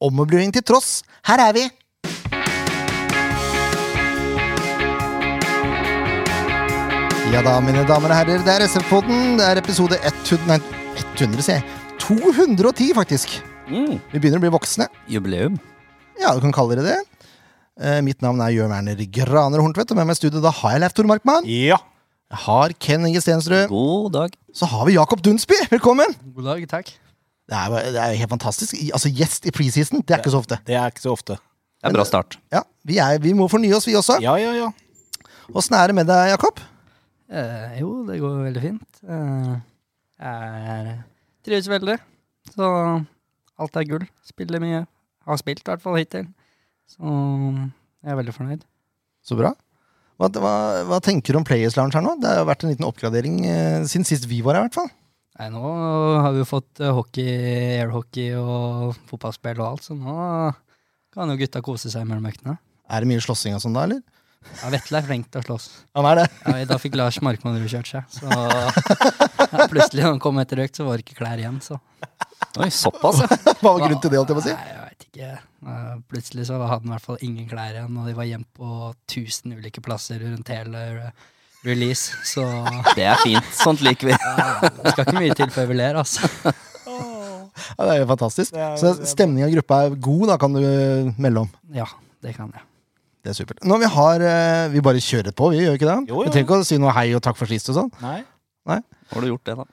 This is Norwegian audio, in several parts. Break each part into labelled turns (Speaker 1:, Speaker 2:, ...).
Speaker 1: Ommøblering til tross, her er vi! Ja da, mine damer og herrer, det er SF-podden. Det er episode 100, nei, 100, sier jeg. 210, faktisk.
Speaker 2: Mm.
Speaker 1: Vi begynner å bli voksne.
Speaker 2: Jubileum.
Speaker 1: Ja, du kan kalle dere det. Eh, mitt navn er Jørn Werner Graner Horntvedt, og med meg i studio da har jeg Leif Tore Markmann.
Speaker 3: Ja.
Speaker 1: Jeg har Ken Inge Stensrud.
Speaker 2: God dag.
Speaker 1: Så har vi Jakob Dunsby. Velkommen!
Speaker 4: God dag, takk.
Speaker 1: Det er, jo- det er jo helt fantastisk. I- Altså, Gjest i preseason, det er ikke så ofte.
Speaker 3: Det er ikke så ofte.
Speaker 2: Det er bra start.
Speaker 1: Ja, Vi, er, vi må fornye oss, vi også.
Speaker 3: Ja, ja, ja.
Speaker 1: Åssen er det med deg, Jakob?
Speaker 4: Eh, jo, det går veldig fint. Eh, jeg trives veldig, så alt er gull. Spiller mye. Har spilt i hvert fall hittil. Så jeg er veldig fornøyd.
Speaker 1: Så bra. Hva, hva, hva tenker du om Players Lounge her nå? Det har jo vært en liten oppgradering eh, siden sist vi var her, i hvert fall.
Speaker 4: Nei, nå har vi jo fått eh, hockey, airhockey og fotballspill og alt, så nå kan jo gutta kose seg mellom øktene.
Speaker 1: Er det mye slåssing og sånn da, eller?
Speaker 4: Ja, Vetle er flink til å slåss.
Speaker 1: Han er det.
Speaker 4: Ja, da fikk Lars Markmann rødkjørt seg, så ja, plutselig når han kom etter økt, så var det ikke klær igjen, så.
Speaker 2: Oi, såpass, ja.
Speaker 1: Hva var grunnen til det, holdt jeg på å si?
Speaker 4: Nei, jeg vet ikke. Eh, Plutselig så hadde han i hvert fall ingen klær igjen, og de var gjemt på tusen ulike plasser rundt hele re- release, så ja,
Speaker 2: Det er fint. Sånt liker vi.
Speaker 4: det skal ikke mye til før vi ler, altså.
Speaker 1: Ja, det er jo fantastisk.
Speaker 3: Det er-
Speaker 1: Så
Speaker 3: det er-
Speaker 1: stemninga i gruppa er god, da kan du eh, melde om.
Speaker 4: Ja, det kan jeg.
Speaker 1: Det er supert. Når vi har eh, Vi bare kjører på, vi gjør ikke det?
Speaker 3: Jo, jo.
Speaker 1: Vi trenger ikke å si noe hei og takk for sist og sånn.
Speaker 3: Nei.
Speaker 2: Har du gjort det, da?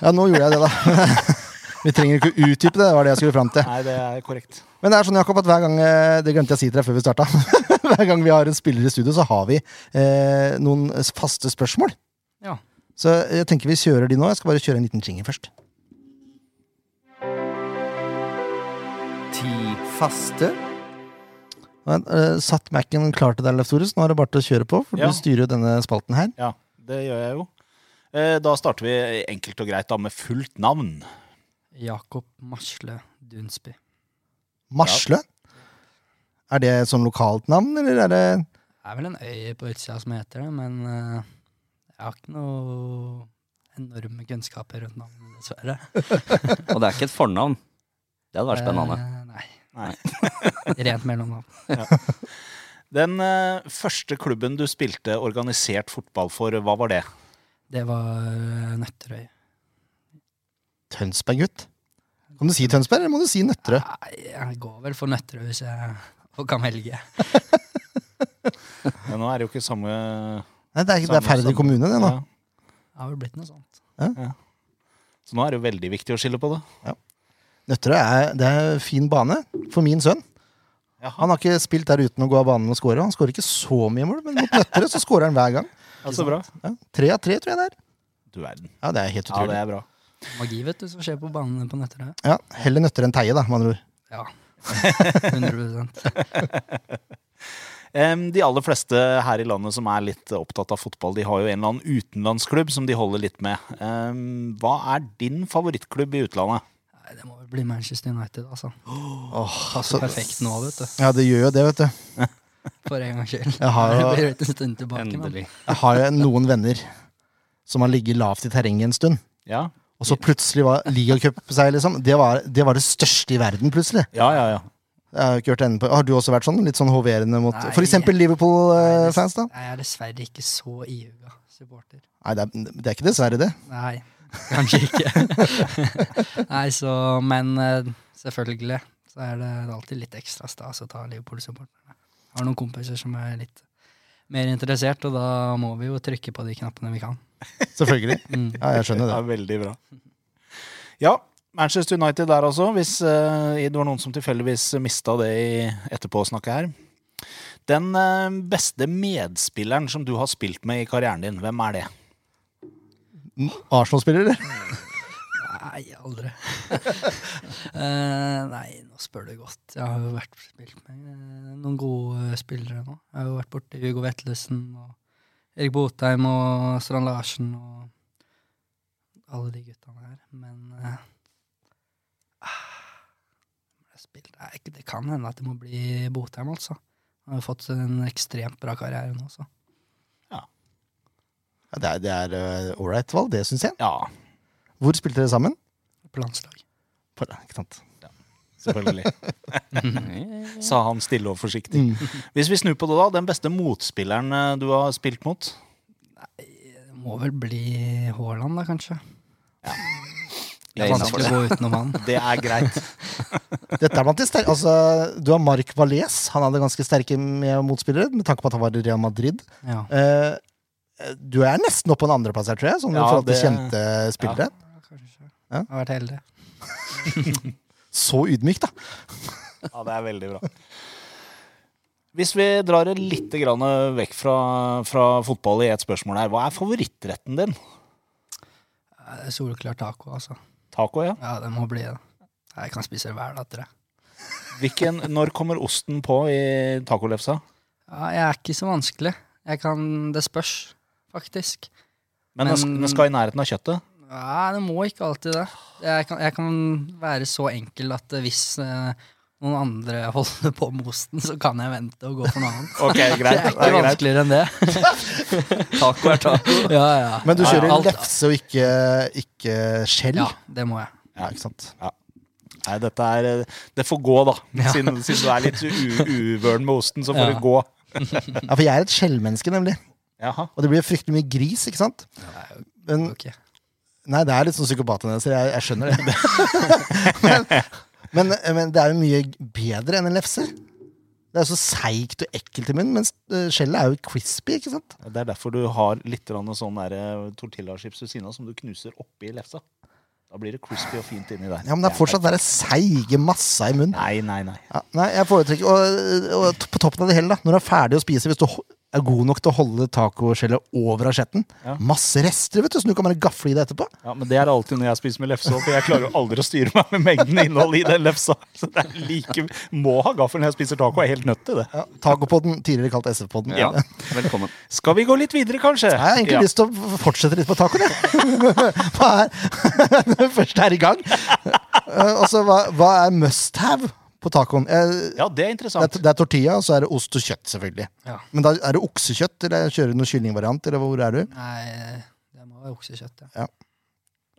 Speaker 1: Ja, nå gjorde jeg det, da. vi trenger ikke å utdype det, det var det jeg skulle fram til.
Speaker 3: Nei, det er korrekt.
Speaker 1: Men det er sånn, Jakob, at hver gang eh, Det glemte jeg å si til deg før vi starta. hver gang vi har en spiller i studio, så har vi eh, noen faste spørsmål.
Speaker 4: Ja.
Speaker 1: Så jeg tenker vi kjører de nå. Jeg skal bare kjøre en liten jingle først.
Speaker 2: Ti faste.
Speaker 1: Men, eh, satt Mac-en klar til deg, Leif Tore, så nå er det bare til å kjøre på. For
Speaker 3: Ja.
Speaker 1: du styrer jo denne spalten her.
Speaker 3: Ja, det gjør jeg jo. Eh, Da starter vi enkelt og greit da med fullt navn.
Speaker 4: Jakob Marsle Dunsby.
Speaker 1: Marsle. Er det som lokalt navn, eller er det
Speaker 4: Det er vel en øy på utsida som heter det, men eh, jeg har ikke noe enorme kunnskaper rundt navnet, dessverre.
Speaker 2: Og det er ikke et fornavn. Det hadde vært spennende.
Speaker 4: Eh, nei.
Speaker 3: Nei.
Speaker 4: Rent mellomnavn.
Speaker 3: Den eh, første klubben du spilte organisert fotball for, hva var det?
Speaker 4: Det var eh, Nøtterøy.
Speaker 1: Tønsberg, gutt? Kan du si Tønsberg, eller må du si Nøtterøy?
Speaker 4: Nei, jeg går vel for Nøtterøy hvis jeg kan velge.
Speaker 3: Ja, nå er det jo ikke samme
Speaker 1: Nei, det er, ikke- det er
Speaker 3: Samme-
Speaker 1: Færder
Speaker 3: samme.
Speaker 1: kommune, det nå.
Speaker 3: ja.
Speaker 4: Det har vel blitt noe sånt.
Speaker 3: Så nå er det jo veldig viktig å skille på det.
Speaker 1: Nøtterøy er, det er fin bane for min sønn.
Speaker 3: Jaha.
Speaker 1: Han har ikke spilt der uten å gå av banen og score. Han skårer ikke så mye mål, men mot Nøtterøy så skårer han hver gang.
Speaker 3: Ja, så Altså, bra.
Speaker 1: Ja, tre av tre, tror jeg det er.
Speaker 3: Du verden.
Speaker 1: Ja, det er helt
Speaker 3: Ja, det
Speaker 1: utrolig.
Speaker 3: er bra.
Speaker 4: Magi, vet du, som skjer på banene på Nøtterøy.
Speaker 1: Ja, Heller Nøtterøy enn Teie, da, med andre ord.
Speaker 4: Ja. 100
Speaker 3: Em, De aller fleste her i landet som er litt opptatt av fotball, de har jo en eller annen utenlandsklubb som de holder litt med. Em, Hva er din favorittklubb i utlandet?
Speaker 4: Nei, det må vel bli Manchester United, altså.
Speaker 1: så-
Speaker 4: Passer perfekt nå, vet du.
Speaker 1: Ja, det gjør jo det, vet du.
Speaker 4: For en gangs skyld.
Speaker 1: Jeg har
Speaker 4: Det
Speaker 1: jo-
Speaker 4: blir jo en stund
Speaker 1: Eh,
Speaker 4: tilbake, men
Speaker 2: Endelig.
Speaker 1: Jeg har jo noen venner som har ligget lavt i terrenget en stund.
Speaker 3: Ja,
Speaker 1: Og så plutselig var ligacup på seg, liksom. Det var, det var det største i verden, plutselig.
Speaker 3: ja, ja. ja.
Speaker 1: Jeg Har ikke hørt enden på Har du også vært sånn? Litt sånn hoverende mot
Speaker 4: Nei.
Speaker 1: For eksempel
Speaker 4: Nei, dess-
Speaker 1: Liverpool-fans, da?
Speaker 4: Nei, Jeg er dessverre ikke så ihuga supporter.
Speaker 1: Nei, det er, det er ikke dessverre, det.
Speaker 4: Nei, kanskje ikke. Nei, så Men eh, selvfølgelig så er det alltid litt ekstra stas å ta Liverpool-supporterne. Jeg Har noen kompiser som er litt mer interessert, og da må vi jo trykke på de knappene vi kan.
Speaker 1: Selvfølgelig.
Speaker 4: Mm.
Speaker 1: Ja, jeg skjønner
Speaker 3: Det
Speaker 1: det.
Speaker 3: er veldig bra. Ja, Manchester United der altså, hvis eh, det var noen som tilfeldigvis mista det i etterpåsnakket her. Den eh, beste medspilleren som du har spilt med i karrieren din, hvem er det?
Speaker 1: Mm, Arsenal-spillere?
Speaker 4: Nei, aldri. Eh, nei, nå spør du godt. Jeg har jo vært spilt med eh, noen gode spillere nå. Jeg har jo vært borti Hugo Vetlesen og Erik Botheim og Strand Larsen og alle de guttene her. Men eh, ah, jeg har spilt- Nei, ikke- det kan hende at det må bli Botheim, altså. Han har jo fått en ekstremt bra karriere nå, altså, så.
Speaker 1: Ja, det er- det er eh, ålreit valg, det syns jeg.
Speaker 3: Ja,
Speaker 1: Hvor spilte dere sammen?
Speaker 4: På landslag.
Speaker 1: På, ikke sant?
Speaker 3: Selvfølgelig.
Speaker 2: Eh,
Speaker 3: Sa han stille og forsiktig.
Speaker 1: Mm.
Speaker 3: Hvis vi snur på det, da. Den beste motspilleren eh, du har spilt mot?
Speaker 4: Det må vel bli Haaland, da, kanskje.
Speaker 2: Jeg
Speaker 4: Det
Speaker 2: er
Speaker 4: er
Speaker 2: innenfor
Speaker 4: vanskelig å gå utenom han.
Speaker 3: Det er greit.
Speaker 1: Dette er blant de sterke Altså, du har Mark Valles. Han hadde ganske sterke med- motspillere, med tanke på at han var i Real Madrid.
Speaker 4: Ja,
Speaker 1: Eh, du er nesten oppe på en andreplass her, tror jeg, sånn i
Speaker 3: Ja,
Speaker 1: forhold til
Speaker 3: det-
Speaker 1: kjente spillere.
Speaker 4: kanskje.
Speaker 1: Ja.
Speaker 4: Jeg har vært heldig.
Speaker 1: Så ydmykt, da.
Speaker 3: Ja, det er veldig bra. Hvis vi drar det litt grann vekk fra, fra fotball i et spørsmål her, hva er favorittretten din?
Speaker 4: Ja, det er Soleklar taco, altså.
Speaker 3: Taco, ja.
Speaker 4: Ja, det må bli det. Jeg kan spise det hver dag, tror jeg.
Speaker 3: Hvilken, når kommer osten på i tacolefsa?
Speaker 4: Ja, jeg er ikke så vanskelig. Jeg kan Det spørs, faktisk.
Speaker 3: Men, den sk-
Speaker 4: Men-
Speaker 3: den skal i nærheten av kjøttet.
Speaker 4: Nei, det må ikke alltid det. Jeg kan, jeg kan være så enkel at eh, hvis eh, noen andre holder på med osten, så kan jeg vente og gå for noe annet.
Speaker 3: Ok,
Speaker 4: Det
Speaker 3: greit.
Speaker 4: er ikke vanskeligere enn det.
Speaker 2: Taco er taco.
Speaker 4: Ja, ja.
Speaker 1: Men du kjører
Speaker 4: ja, alt-
Speaker 1: lefse og ikke, ikke skjell.
Speaker 4: Ja,
Speaker 1: Ja.
Speaker 4: det må jeg.
Speaker 1: ikke sant?
Speaker 3: Nei, dette er eh, Det får gå, da. Siden, siden du er litt u- uvøren med osten, så får
Speaker 4: Ja.
Speaker 3: det gå.
Speaker 1: Ja, For jeg er et skjellmenneske, nemlig.
Speaker 3: Jaha.
Speaker 1: Og det blir fryktelig mye gris, ikke sant? Men,
Speaker 4: Ok.
Speaker 1: nei, det er litt sånn psykopatendenser. Jeg, jeg skjønner det. men, men, men det er jo mye bedre enn en lefse. Det er så seigt og ekkelt i munnen, mens eh, skjellet er jo crispy, ikke sant?
Speaker 3: Det er derfor du har litt grann sånn der tortillachips ved siden av som du knuser oppi lefsa. Da blir det crispy og fint inni der.
Speaker 1: Ja, Men det er fortsatt den seige massa i munnen.
Speaker 3: Nei, nei, nei.
Speaker 1: Ja, nei, jeg foretrekker og, eh, og t- på toppen av det hele, da, når du er ferdig å spise, hvis du ho- er god nok til å holde tacoskjellet over asjetten
Speaker 3: Ja.
Speaker 1: Masse rester, vet du, som du kan bare gafle i deg etterpå.
Speaker 3: Ja, Men det er alltid når jeg spiser med lefse òg, for jeg klarer jo aldri å styre meg med mengden innhold i den lefsa. Så det er like Må ha gaffel når jeg spiser taco. Jeg er helt nødt til det.
Speaker 1: Ja, Tacopodden, tidligere kalt SF-podden.
Speaker 2: Ja, velkommen.
Speaker 3: Skal vi gå litt videre, kanskje?
Speaker 1: Jeg har egentlig lyst til å f- fortsette litt på tacoen, jeg. hva er Når vi først er i gang. Eh, Og så hva, hva er must have på tacoen? Eh,
Speaker 3: Ja, det er
Speaker 1: Det
Speaker 3: interessant.
Speaker 1: er, det er tortilla, og så er det ost og kjøtt, selvfølgelig.
Speaker 4: Ja.
Speaker 1: Men da er det oksekjøtt, eller kjører du noen kyllingvariant, eller hvor er du?
Speaker 4: Nei, det må være oksekjøtt, ja.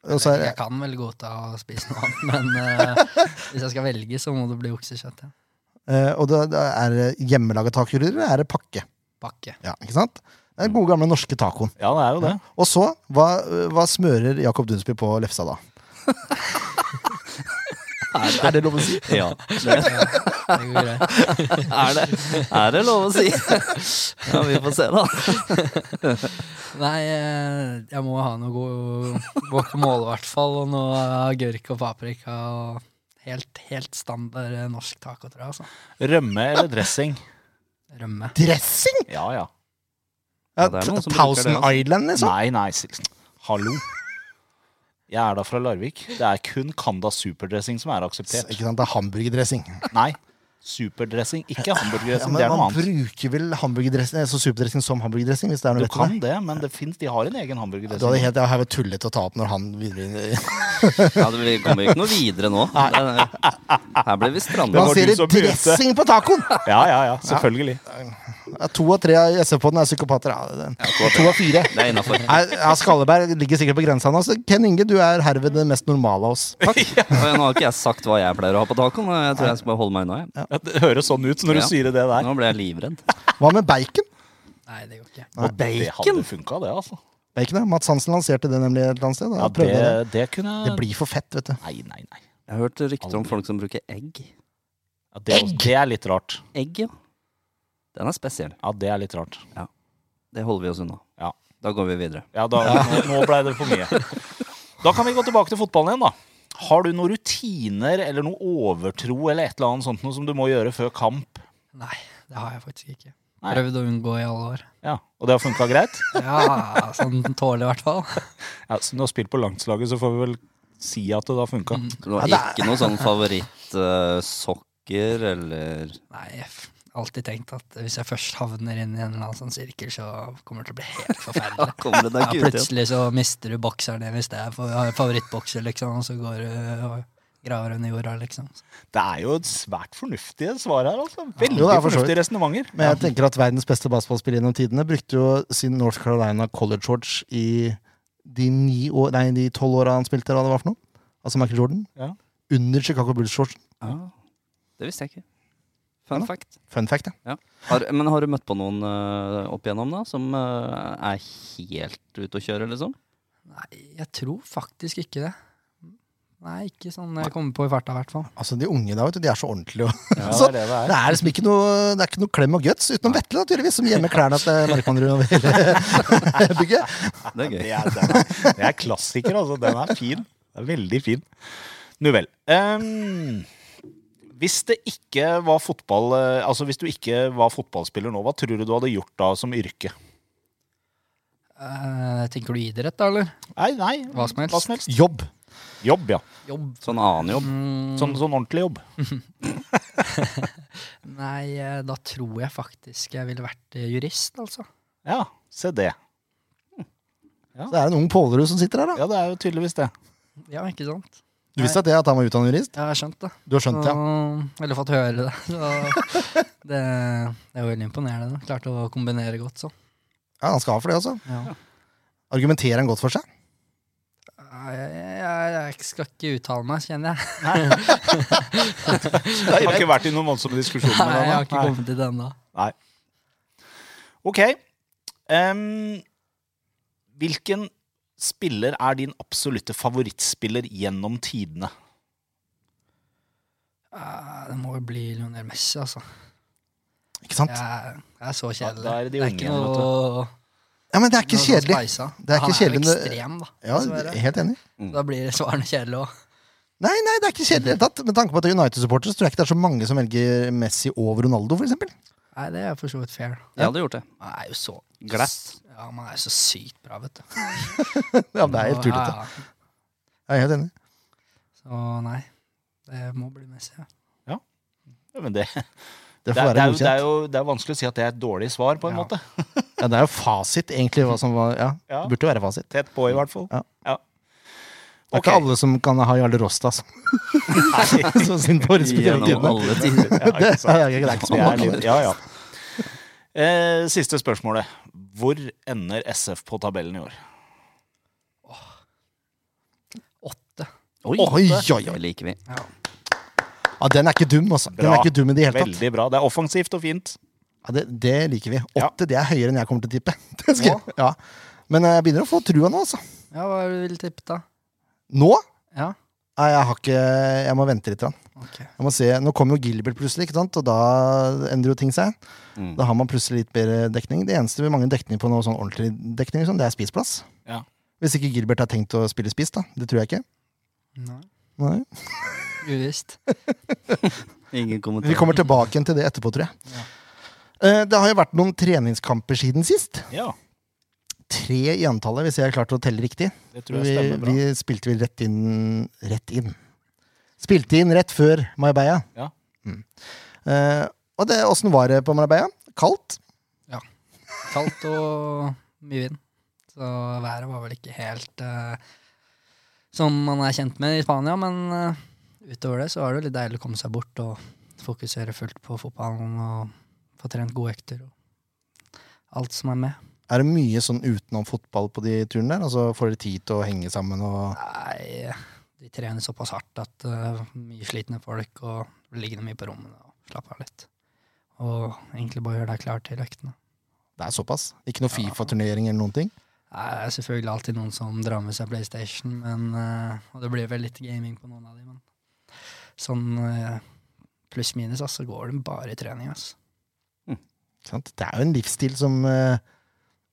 Speaker 1: Og så er det,
Speaker 4: Jeg kan vel godta å spise noe annet, men eh, hvis jeg skal velge, så må det bli oksekjøtt. Ja.
Speaker 1: eh, og da, da er det hjemmelaga taco, eller er det pakke?
Speaker 4: Bakke.
Speaker 1: Ja, ikke sant? Det er den gode gamle norske tacoen.
Speaker 3: Ja, det er jo det.
Speaker 1: Og så, hva, hva smører Jakob Dunsby på lefsa da? er det lov å si?
Speaker 2: Ja, det
Speaker 4: Ja, det går greit.
Speaker 2: er det. Er det lov å si? Ja, vi får se, da.
Speaker 4: Nei, eh, jeg må ha noe god guacamole, i hvert fall, og noe agurk og paprika. og Helt, helt standard eh, norsk taco, tror jeg. altså.
Speaker 3: Rømme eller dressing?
Speaker 4: Rømme.
Speaker 1: Dressing?
Speaker 3: Ja, ja.
Speaker 1: Ja,
Speaker 2: Ja, det er noen som bruker
Speaker 1: Thousand
Speaker 2: det, altså.
Speaker 1: Island, liksom?
Speaker 3: Nei, nei, Sixten. Hallo. Jeg er da fra Larvik. Det er kun Kanda superdressing som er akseptert.
Speaker 1: Ikke sant, det er hamburgerdressing.
Speaker 3: Nei. Superdressing, ikke
Speaker 1: Ja,
Speaker 3: hamburgerdressing.
Speaker 1: men
Speaker 3: det er noe
Speaker 1: man
Speaker 3: annet.
Speaker 1: bruker vel hamburgerdressing altså superdressing som hamburgerdressing? hvis det er noe
Speaker 3: Du
Speaker 1: vett i
Speaker 3: kan det, men det finnes, de har en egen
Speaker 1: det. Du hadde
Speaker 3: hamburgerdressing.
Speaker 1: helt, jeg har tullet å ta opp når han videre
Speaker 2: Ja, det- vi kommer ikke noe videre nå. Det- Her ble vi stranda.
Speaker 1: Man
Speaker 3: var
Speaker 1: sier
Speaker 3: du som
Speaker 1: dressing på tacoen!
Speaker 3: Ja, ja, ja, selvfølgelig.
Speaker 1: Ja, to av tre i SF-podden er psykopater. Ja, det- to av fire.
Speaker 2: Det er innafor.
Speaker 1: Nei, Ja, Skalleberg ligger sikkert på grensa nå, så Ken Inge, du er herved den mest normale av oss. Takk.
Speaker 2: Nå har ikke jeg sagt hva jeg pleier å ha på tacoen. og Jeg tror jeg skal bare holde meg unna. jeg.
Speaker 3: Ja, Det høres sånn ut når du
Speaker 2: Ja.
Speaker 3: sier det der.
Speaker 2: Nå ble jeg livredd.
Speaker 1: Hva med bacon?
Speaker 4: Nei, det går ikke.
Speaker 3: Og det hadde funka, det, altså.
Speaker 1: Bacon, ja. Mats Hansen lanserte det nemlig et eller annet sted. Da.
Speaker 3: Ja,
Speaker 1: prøvde jeg det.
Speaker 3: det, det kunne
Speaker 1: det blir for fett, vet du.
Speaker 3: Nei, nei, nei.
Speaker 2: Jeg har hørt rykter om folk som bruker egg.
Speaker 3: Ja, det, er også- det er litt rart.
Speaker 2: Egg, ja. Den er spesiell.
Speaker 3: Ja, det er litt rart.
Speaker 2: Det holder vi oss unna.
Speaker 3: Ja.
Speaker 2: Da går vi videre.
Speaker 3: Ja, da, nå, nå ble det for mye. Da kan vi gå tilbake til fotballen igjen, da. Har du noen rutiner eller noe overtro eller et eller annet sånt noe som du må gjøre før kamp?
Speaker 4: Nei, det har jeg faktisk ikke.
Speaker 3: Nei.
Speaker 4: Prøvd å unngå i alle år.
Speaker 3: Ja, Og det har funka greit?
Speaker 4: Ja, sånn tålelig i hvert fall.
Speaker 3: Ja, Siden du har spilt på landslaget, så får vi vel si at det har funka.
Speaker 1: Mm.
Speaker 2: Så Du har
Speaker 1: Ja,
Speaker 2: ikke noe sånn favorittsokker eller
Speaker 4: Nei, jeg har alltid tenkt at hvis jeg først havner inn i en eller annen sånn sirkel, så kommer det til å bli helt
Speaker 2: Da
Speaker 4: forferdelig.
Speaker 2: kommer det deg
Speaker 4: Ja,
Speaker 2: ikke ut igjen.
Speaker 4: plutselig så mister du bokseren din hvis det er fa- favorittbokser, liksom, og så går du og graver under jorda, liksom.
Speaker 3: Det er jo et svært fornuftige svar her, altså. Veldig
Speaker 1: Jo, det er for så vidt.
Speaker 3: fornuftige resonnementer.
Speaker 1: Men jeg tenker at verdens beste basketballspiller gjennom tidene brukte jo sin North Carolina College George i de ni år, nei, de tolv åra han spilte, eller hva det var for noe. Altså Michael Jordan.
Speaker 3: Ja.
Speaker 1: Under Chicago Bulls-shortsen.
Speaker 2: Ja. Det visste jeg ikke. Fun
Speaker 1: Ja da.
Speaker 2: fact.
Speaker 1: Fun fact, ja.
Speaker 2: Har, men har du møtt på noen eh, opp igjennom da, som eh, er helt ute å kjøre, liksom?
Speaker 4: Nei, jeg tror faktisk ikke det. Nei, ikke sånn jeg kommer på i farta, i hvert fall.
Speaker 1: Altså, de unge da, vet du, de er så ordentlige. og-
Speaker 3: Ja, det
Speaker 1: Så-
Speaker 3: er det det
Speaker 1: Det
Speaker 3: er.
Speaker 1: er liksom ikke noe, det er ikke noe klem og guts utenom Vetle, da, tydeligvis, som gjemmer klærne til Markmannrud over hele bygget.
Speaker 2: Det er gøy.
Speaker 3: Det er, den er, det er klassiker, altså. Den er fin. Den er veldig fin. Nu vel. Ehm, hvis det ikke var fotball eh, Altså hvis du ikke var fotballspiller nå, hva tror du du hadde gjort da som yrke?
Speaker 4: Eh, tenker du idrett, da, eller?
Speaker 3: Nei, nei.
Speaker 4: Hva som helst.
Speaker 3: Hva som helst.
Speaker 1: Jobb.
Speaker 3: Jobb, ja.
Speaker 4: Jobb?
Speaker 2: Sånn annen jobb.
Speaker 4: Mm,
Speaker 3: Sånn, sånn ordentlig jobb.
Speaker 4: Nei, eh, da tror jeg faktisk jeg ville vært eh, jurist, altså.
Speaker 3: Ja, se det.
Speaker 1: Så det er en ung Pålerud som sitter her, da.
Speaker 3: Ja, det er jo tydeligvis det.
Speaker 4: Ja, ikke sant?
Speaker 1: Du visste at, det, at han var utdannet jurist?
Speaker 4: Ja, jeg har skjønt det.
Speaker 1: Du har skjønt det, ja.
Speaker 4: Så- Eller fått høre det. Så det, det er jo veldig imponerende. da. Klarte å kombinere godt sånn.
Speaker 1: ja? Han skal ha for det, altså.
Speaker 4: Ja.
Speaker 1: Argumenterer han godt for seg?
Speaker 4: Nei, Jeg, jeg, jeg skal ikke uttale meg, kjenner jeg.
Speaker 3: Jeg har ikke vært i noen voldsomme diskusjoner
Speaker 4: Nei,
Speaker 3: med
Speaker 4: jeg har
Speaker 3: deg.
Speaker 4: ikke kommet dit ennå.
Speaker 3: Ok. Em, hvilken spiller er din absolutte favorittspiller gjennom tidene?
Speaker 4: Eh, Det må jo bli Lionel Messi, altså.
Speaker 1: Ikke sant?
Speaker 4: Jeg, jeg er så kjedelig.
Speaker 3: Da- da er det de unge
Speaker 4: ikke
Speaker 3: igjen, vet du.
Speaker 4: noe,
Speaker 1: Ja, men det er ikke
Speaker 4: noe sånn
Speaker 1: kjedelig.
Speaker 4: spisa.
Speaker 1: Det er ikke kjedelig, men
Speaker 4: Han er jo
Speaker 1: det-
Speaker 4: ekstrem, da.
Speaker 1: Ja,
Speaker 4: dessverre.
Speaker 1: helt enig.
Speaker 4: Da blir det svarene kjedelige òg.
Speaker 1: Nei, nei, det er ikke kjedelig i det hele tatt. Med tanke på at det er United-supportere, så tror jeg ikke det er så mange som velger Messi over Ronaldo, for eksempel.
Speaker 4: Nei, det er for så vidt fair.
Speaker 2: Jeg hadde gjort det.
Speaker 4: Man er jo så
Speaker 2: Glatt.
Speaker 4: Ja, man er jo så sykt bra, vet du.
Speaker 1: Ja, det er helt tullete.
Speaker 4: Ja, ja.
Speaker 1: Jeg er helt enig.
Speaker 4: Så nei, det må bli Messi. Ja.
Speaker 3: Ja, men det, det,
Speaker 1: Det
Speaker 3: er,
Speaker 1: får være
Speaker 3: det, er, jo- det, er
Speaker 1: godkjent.
Speaker 3: jo, det er vanskelig å si at det er et dårlig svar, på en
Speaker 4: Ja.
Speaker 3: måte.
Speaker 1: Ja, det er jo fasit, egentlig, hva som var Ja,
Speaker 3: Ja.
Speaker 1: det burde jo være fasit.
Speaker 3: Tett på, i hvert fall.
Speaker 1: Ja.
Speaker 3: Ja.
Speaker 1: Det er
Speaker 3: Ok.
Speaker 1: ikke alle som kan ha Jarle Rosta som, som sin forespiller. i tidene.
Speaker 2: Gjennom alle tider.
Speaker 3: Ja, ikke
Speaker 1: Ja,
Speaker 3: sant?
Speaker 1: ja, det er ikke så
Speaker 3: Det
Speaker 1: mange.
Speaker 3: er litt, ja, ja. Eh, siste spørsmålet. Hvor ender SF på tabellen i år?
Speaker 4: Åtte.
Speaker 2: Oi,
Speaker 1: Oi, oi, oi.
Speaker 2: Det liker vi.
Speaker 4: Ja.
Speaker 1: Ja, den er ikke dum, altså. Den
Speaker 3: Bra.
Speaker 1: er ikke dum i det hele tatt.
Speaker 3: Veldig bra. Det er offensivt og fint.
Speaker 1: Ja, det, det liker vi.
Speaker 3: Ja.
Speaker 1: Åtte det er høyere enn jeg kommer til å tippe. Det skal, jeg- ja. Men eh, jeg begynner å få trua nå, altså.
Speaker 4: ja, hva er det du vil tippe, da?
Speaker 1: Nå?
Speaker 4: Ja,
Speaker 1: Nei, jeg har ikke Jeg må vente litt. grann.
Speaker 4: ok.
Speaker 1: Jeg må se. Nå kommer jo Gilbert plutselig, ikke sant? og da endrer jo ting seg.
Speaker 2: Mm.
Speaker 1: Da har man plutselig litt bedre dekning. Det eneste vi mangler dekning på, noe sånn ordentlig dekning, liksom, det er spiseplass.
Speaker 3: Ja.
Speaker 1: Hvis ikke Gilbert har tenkt å spille spiss, da. Det tror jeg ikke.
Speaker 4: Nei.
Speaker 1: Nei.
Speaker 4: Uvisst.
Speaker 2: Ingen
Speaker 1: Vi
Speaker 2: kommentar.
Speaker 1: kommer tilbake igjen til det etterpå, tror jeg. Eh, Det har jo vært noen treningskamper siden sist.
Speaker 3: Ja,
Speaker 1: Tre i antallet, hvis jeg har klart å telle riktig.
Speaker 3: det tror jeg
Speaker 1: Vi,
Speaker 3: stemmer bra.
Speaker 1: vi spilte vel rett inn Rett inn. Spilte inn rett før Marbella.
Speaker 3: Ja.
Speaker 1: Mm. Eh, og det, åssen var det på Marbella? Kaldt?
Speaker 4: Kaldt og mye vind. Så været var vel ikke helt eh, som man er kjent med i Spania, men eh, utover det så var det jo litt deilig å komme seg bort og fokusere fullt på fotballen og få trent gode økter og alt som er med.
Speaker 1: Er det mye sånn utenom fotball på de turene der? Altså Får dere tid til å henge sammen og
Speaker 4: Nei, de trener såpass hardt at eh, mye slitne folk og liggende mye på rommene og slappe av litt. Og egentlig bare gjøre deg klar til øktene.
Speaker 1: Det er såpass? Ikke noe Fifa-turnering eller noen ting?
Speaker 4: Nei, Det er selvfølgelig alltid noen som drar med seg PlayStation, men, eh, og det blir vel litt gaming på noen av dem. Men sånn eh, pluss-minus, altså, går det bare i trening. Altså.
Speaker 1: Ikke Sant? Det er jo en livsstil som eh,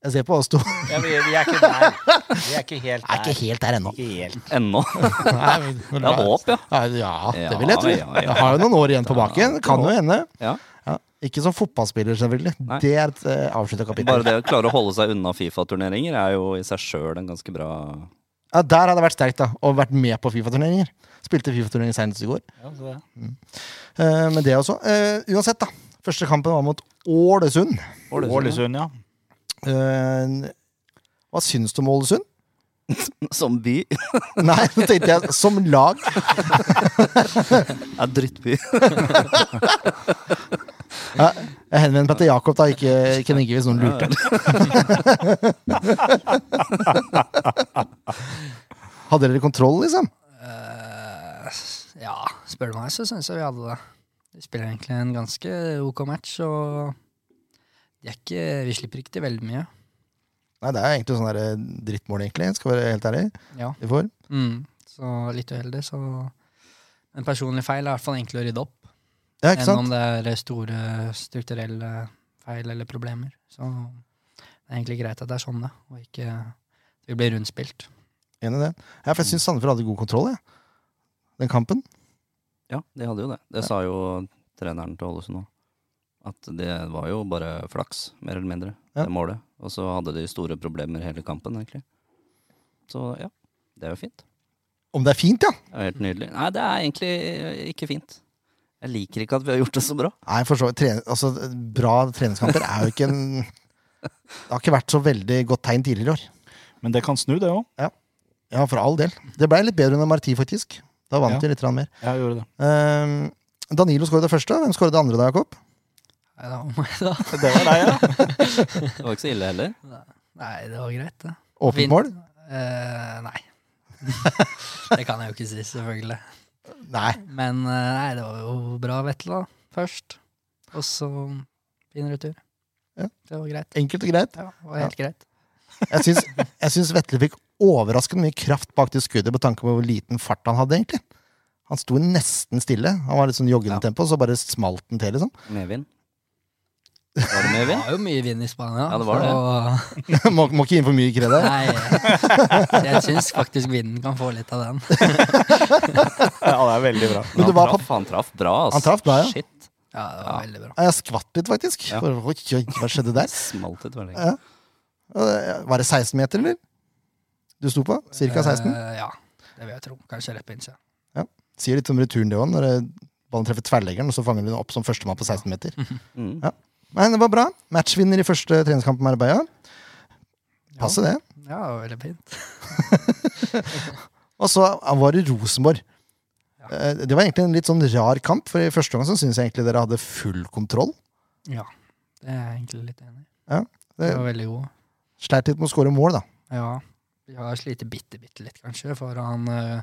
Speaker 1: Jeg ser på oss to.
Speaker 3: Ja, vi, vi er ikke der. Vi er ikke
Speaker 1: Jeg
Speaker 3: helt
Speaker 1: er ikke helt der ennå.
Speaker 3: Ikke helt.
Speaker 2: Ennå.
Speaker 1: Nei,
Speaker 2: Det er håp, ja.
Speaker 1: Ja, ja, det vil jeg tro.
Speaker 2: Ja, ja, ja.
Speaker 1: Jeg har jo noen år igjen på baken. Kan jo hende.
Speaker 2: Ja.
Speaker 1: Ja, Ikke som fotballspiller, selvfølgelig.
Speaker 2: Nei.
Speaker 1: Det er et uh, avslutta
Speaker 2: Bare
Speaker 1: kapittel.
Speaker 2: det å klare å holde seg unna Fifa-turneringer er jo i seg sjøl en ganske bra
Speaker 1: Ja, der hadde jeg vært sterkt, da. Og vært med på Fifa-turneringer. Spilte Fifa-turnering senest i går.
Speaker 3: Ja, så det.
Speaker 1: Eh, men det også. Eh, uansett, da. Første kampen var mot Ålesund.
Speaker 3: Ålesund, ja.
Speaker 1: Eh, hva syns du om Ålesund?
Speaker 2: Som by.
Speaker 1: Nei, nå tenkte jeg som lag.
Speaker 2: Er drittby.
Speaker 1: Ja, jeg henvender meg til Jakob, da, ikke, ikke Nigge, hvis noen lurte. Hadde liksom? dere kontroll, liksom?
Speaker 4: Eh, ja, spør du meg, så syns jeg vi hadde det. De spiller egentlig en ganske ok match, og de er ikke, vi slipper ikke til veldig mye.
Speaker 1: Nei, det er egentlig sånn der, eh, drittmål, egentlig. Skal være helt ærlig.
Speaker 4: Ja.
Speaker 1: Vi får.
Speaker 4: Mm. Så litt uheldig, så En personlig feil er i hvert fall enklere å rydde opp
Speaker 1: Ja, ikke
Speaker 4: enn om
Speaker 1: sant?
Speaker 4: det er store strukturelle feil eller problemer. Så det er egentlig greit at det er sånn, det, og ikke at vi blir rundspilt.
Speaker 1: Enig i det. Ja, for jeg syns Sandefjord hadde god kontroll, jeg. Den kampen.
Speaker 2: Ja, de hadde jo det. Det sa jo treneren til Ålesund òg. At det var jo bare flaks, mer eller mindre,
Speaker 1: Ja.
Speaker 2: det målet. Og så hadde de store problemer hele kampen, egentlig. Så ja, det er jo fint.
Speaker 1: Om det er fint, ja!
Speaker 2: Det er helt nydelig. Nei, det er egentlig eh, ikke fint. Jeg liker ikke at vi har gjort det så bra.
Speaker 1: Nei, for så vidt. Tre- Altså, bra treningskamper er jo ikke en Det har ikke vært så veldig godt tegn tidligere i år.
Speaker 3: Men det kan snu, det òg.
Speaker 1: Ja, for all del. Det ble litt bedre enn Marti, faktisk. Da vant
Speaker 3: Ja.
Speaker 1: de litt grann mer.
Speaker 3: Jeg gjorde det.
Speaker 1: Ehm, Danilo skåret det første. Hvem skåret det andre da, Jakob?
Speaker 4: Nei, det var meg, da.
Speaker 3: Det var deg, ja.
Speaker 2: Det var ikke så ille heller.
Speaker 4: Nei, det var greit, det.
Speaker 1: Åpent
Speaker 4: Vin-
Speaker 1: mål?
Speaker 4: Eh, nei. det kan jeg jo ikke si, selvfølgelig.
Speaker 1: Nei.
Speaker 4: Men eh, nei, det var jo bra Vettel da, først. Og så fin retur.
Speaker 1: Ja.
Speaker 4: Det var greit.
Speaker 1: Enkelt og greit.
Speaker 4: Ja, det var helt greit.
Speaker 1: Jeg syns, jeg syns Vetle fikk overraskende mye kraft bak det skuddet, med tanke på hvor liten fart han hadde, egentlig. Han sto nesten stille. Han var litt sånn joggende
Speaker 2: Ja.
Speaker 1: tempo, så bare smalt den til, liksom.
Speaker 2: Medvind. Var det
Speaker 4: Det
Speaker 2: medvind?
Speaker 4: var jo mye vind i Spania.
Speaker 2: Ja, det var det.
Speaker 4: så-
Speaker 1: må, må ikke inn for mye kred her.
Speaker 4: Nei, så jeg syns faktisk vinden kan få litt av den.
Speaker 3: ja. Det er veldig bra.
Speaker 1: Men
Speaker 2: Han
Speaker 1: det var
Speaker 2: traff, han traff bra, altså.
Speaker 1: Han traff bra, ja.
Speaker 2: Shit.
Speaker 4: Ja, det var veldig bra.
Speaker 1: Ja, Jeg skvatt litt, faktisk.
Speaker 2: Ja.
Speaker 1: Bare, Oi, oi, hva skjedde der?
Speaker 2: Smalt ut veldig.
Speaker 1: Ja. Eh, Var det 16 meter, eller? Du sto på? Cirka 16?
Speaker 4: Eh, ja, det vil jeg tro. Kanskje rett på innsida.
Speaker 1: Sier litt om returen, det òg, når eh, ballen treffer tverrleggeren, og så fanger du den opp som førstemann på 16 meter.
Speaker 2: Mm.
Speaker 1: Ja. Men det var bra. Matchvinner i første treningskamp med Arbeia. Passe det.
Speaker 4: Ja, det var veldig fint.
Speaker 1: Og så var det Rosenborg. Eh, Det var egentlig en litt sånn rar kamp, for i første gang så syns jeg egentlig dere hadde full kontroll.
Speaker 4: Ja, det er jeg egentlig litt enig i.
Speaker 1: Ja,
Speaker 4: Det
Speaker 1: det-
Speaker 4: var veldig god.
Speaker 1: Sleit litt med å skåre mål, da.
Speaker 4: Ja, vi har slitt bitte, bitte litt, kanskje, foran eh,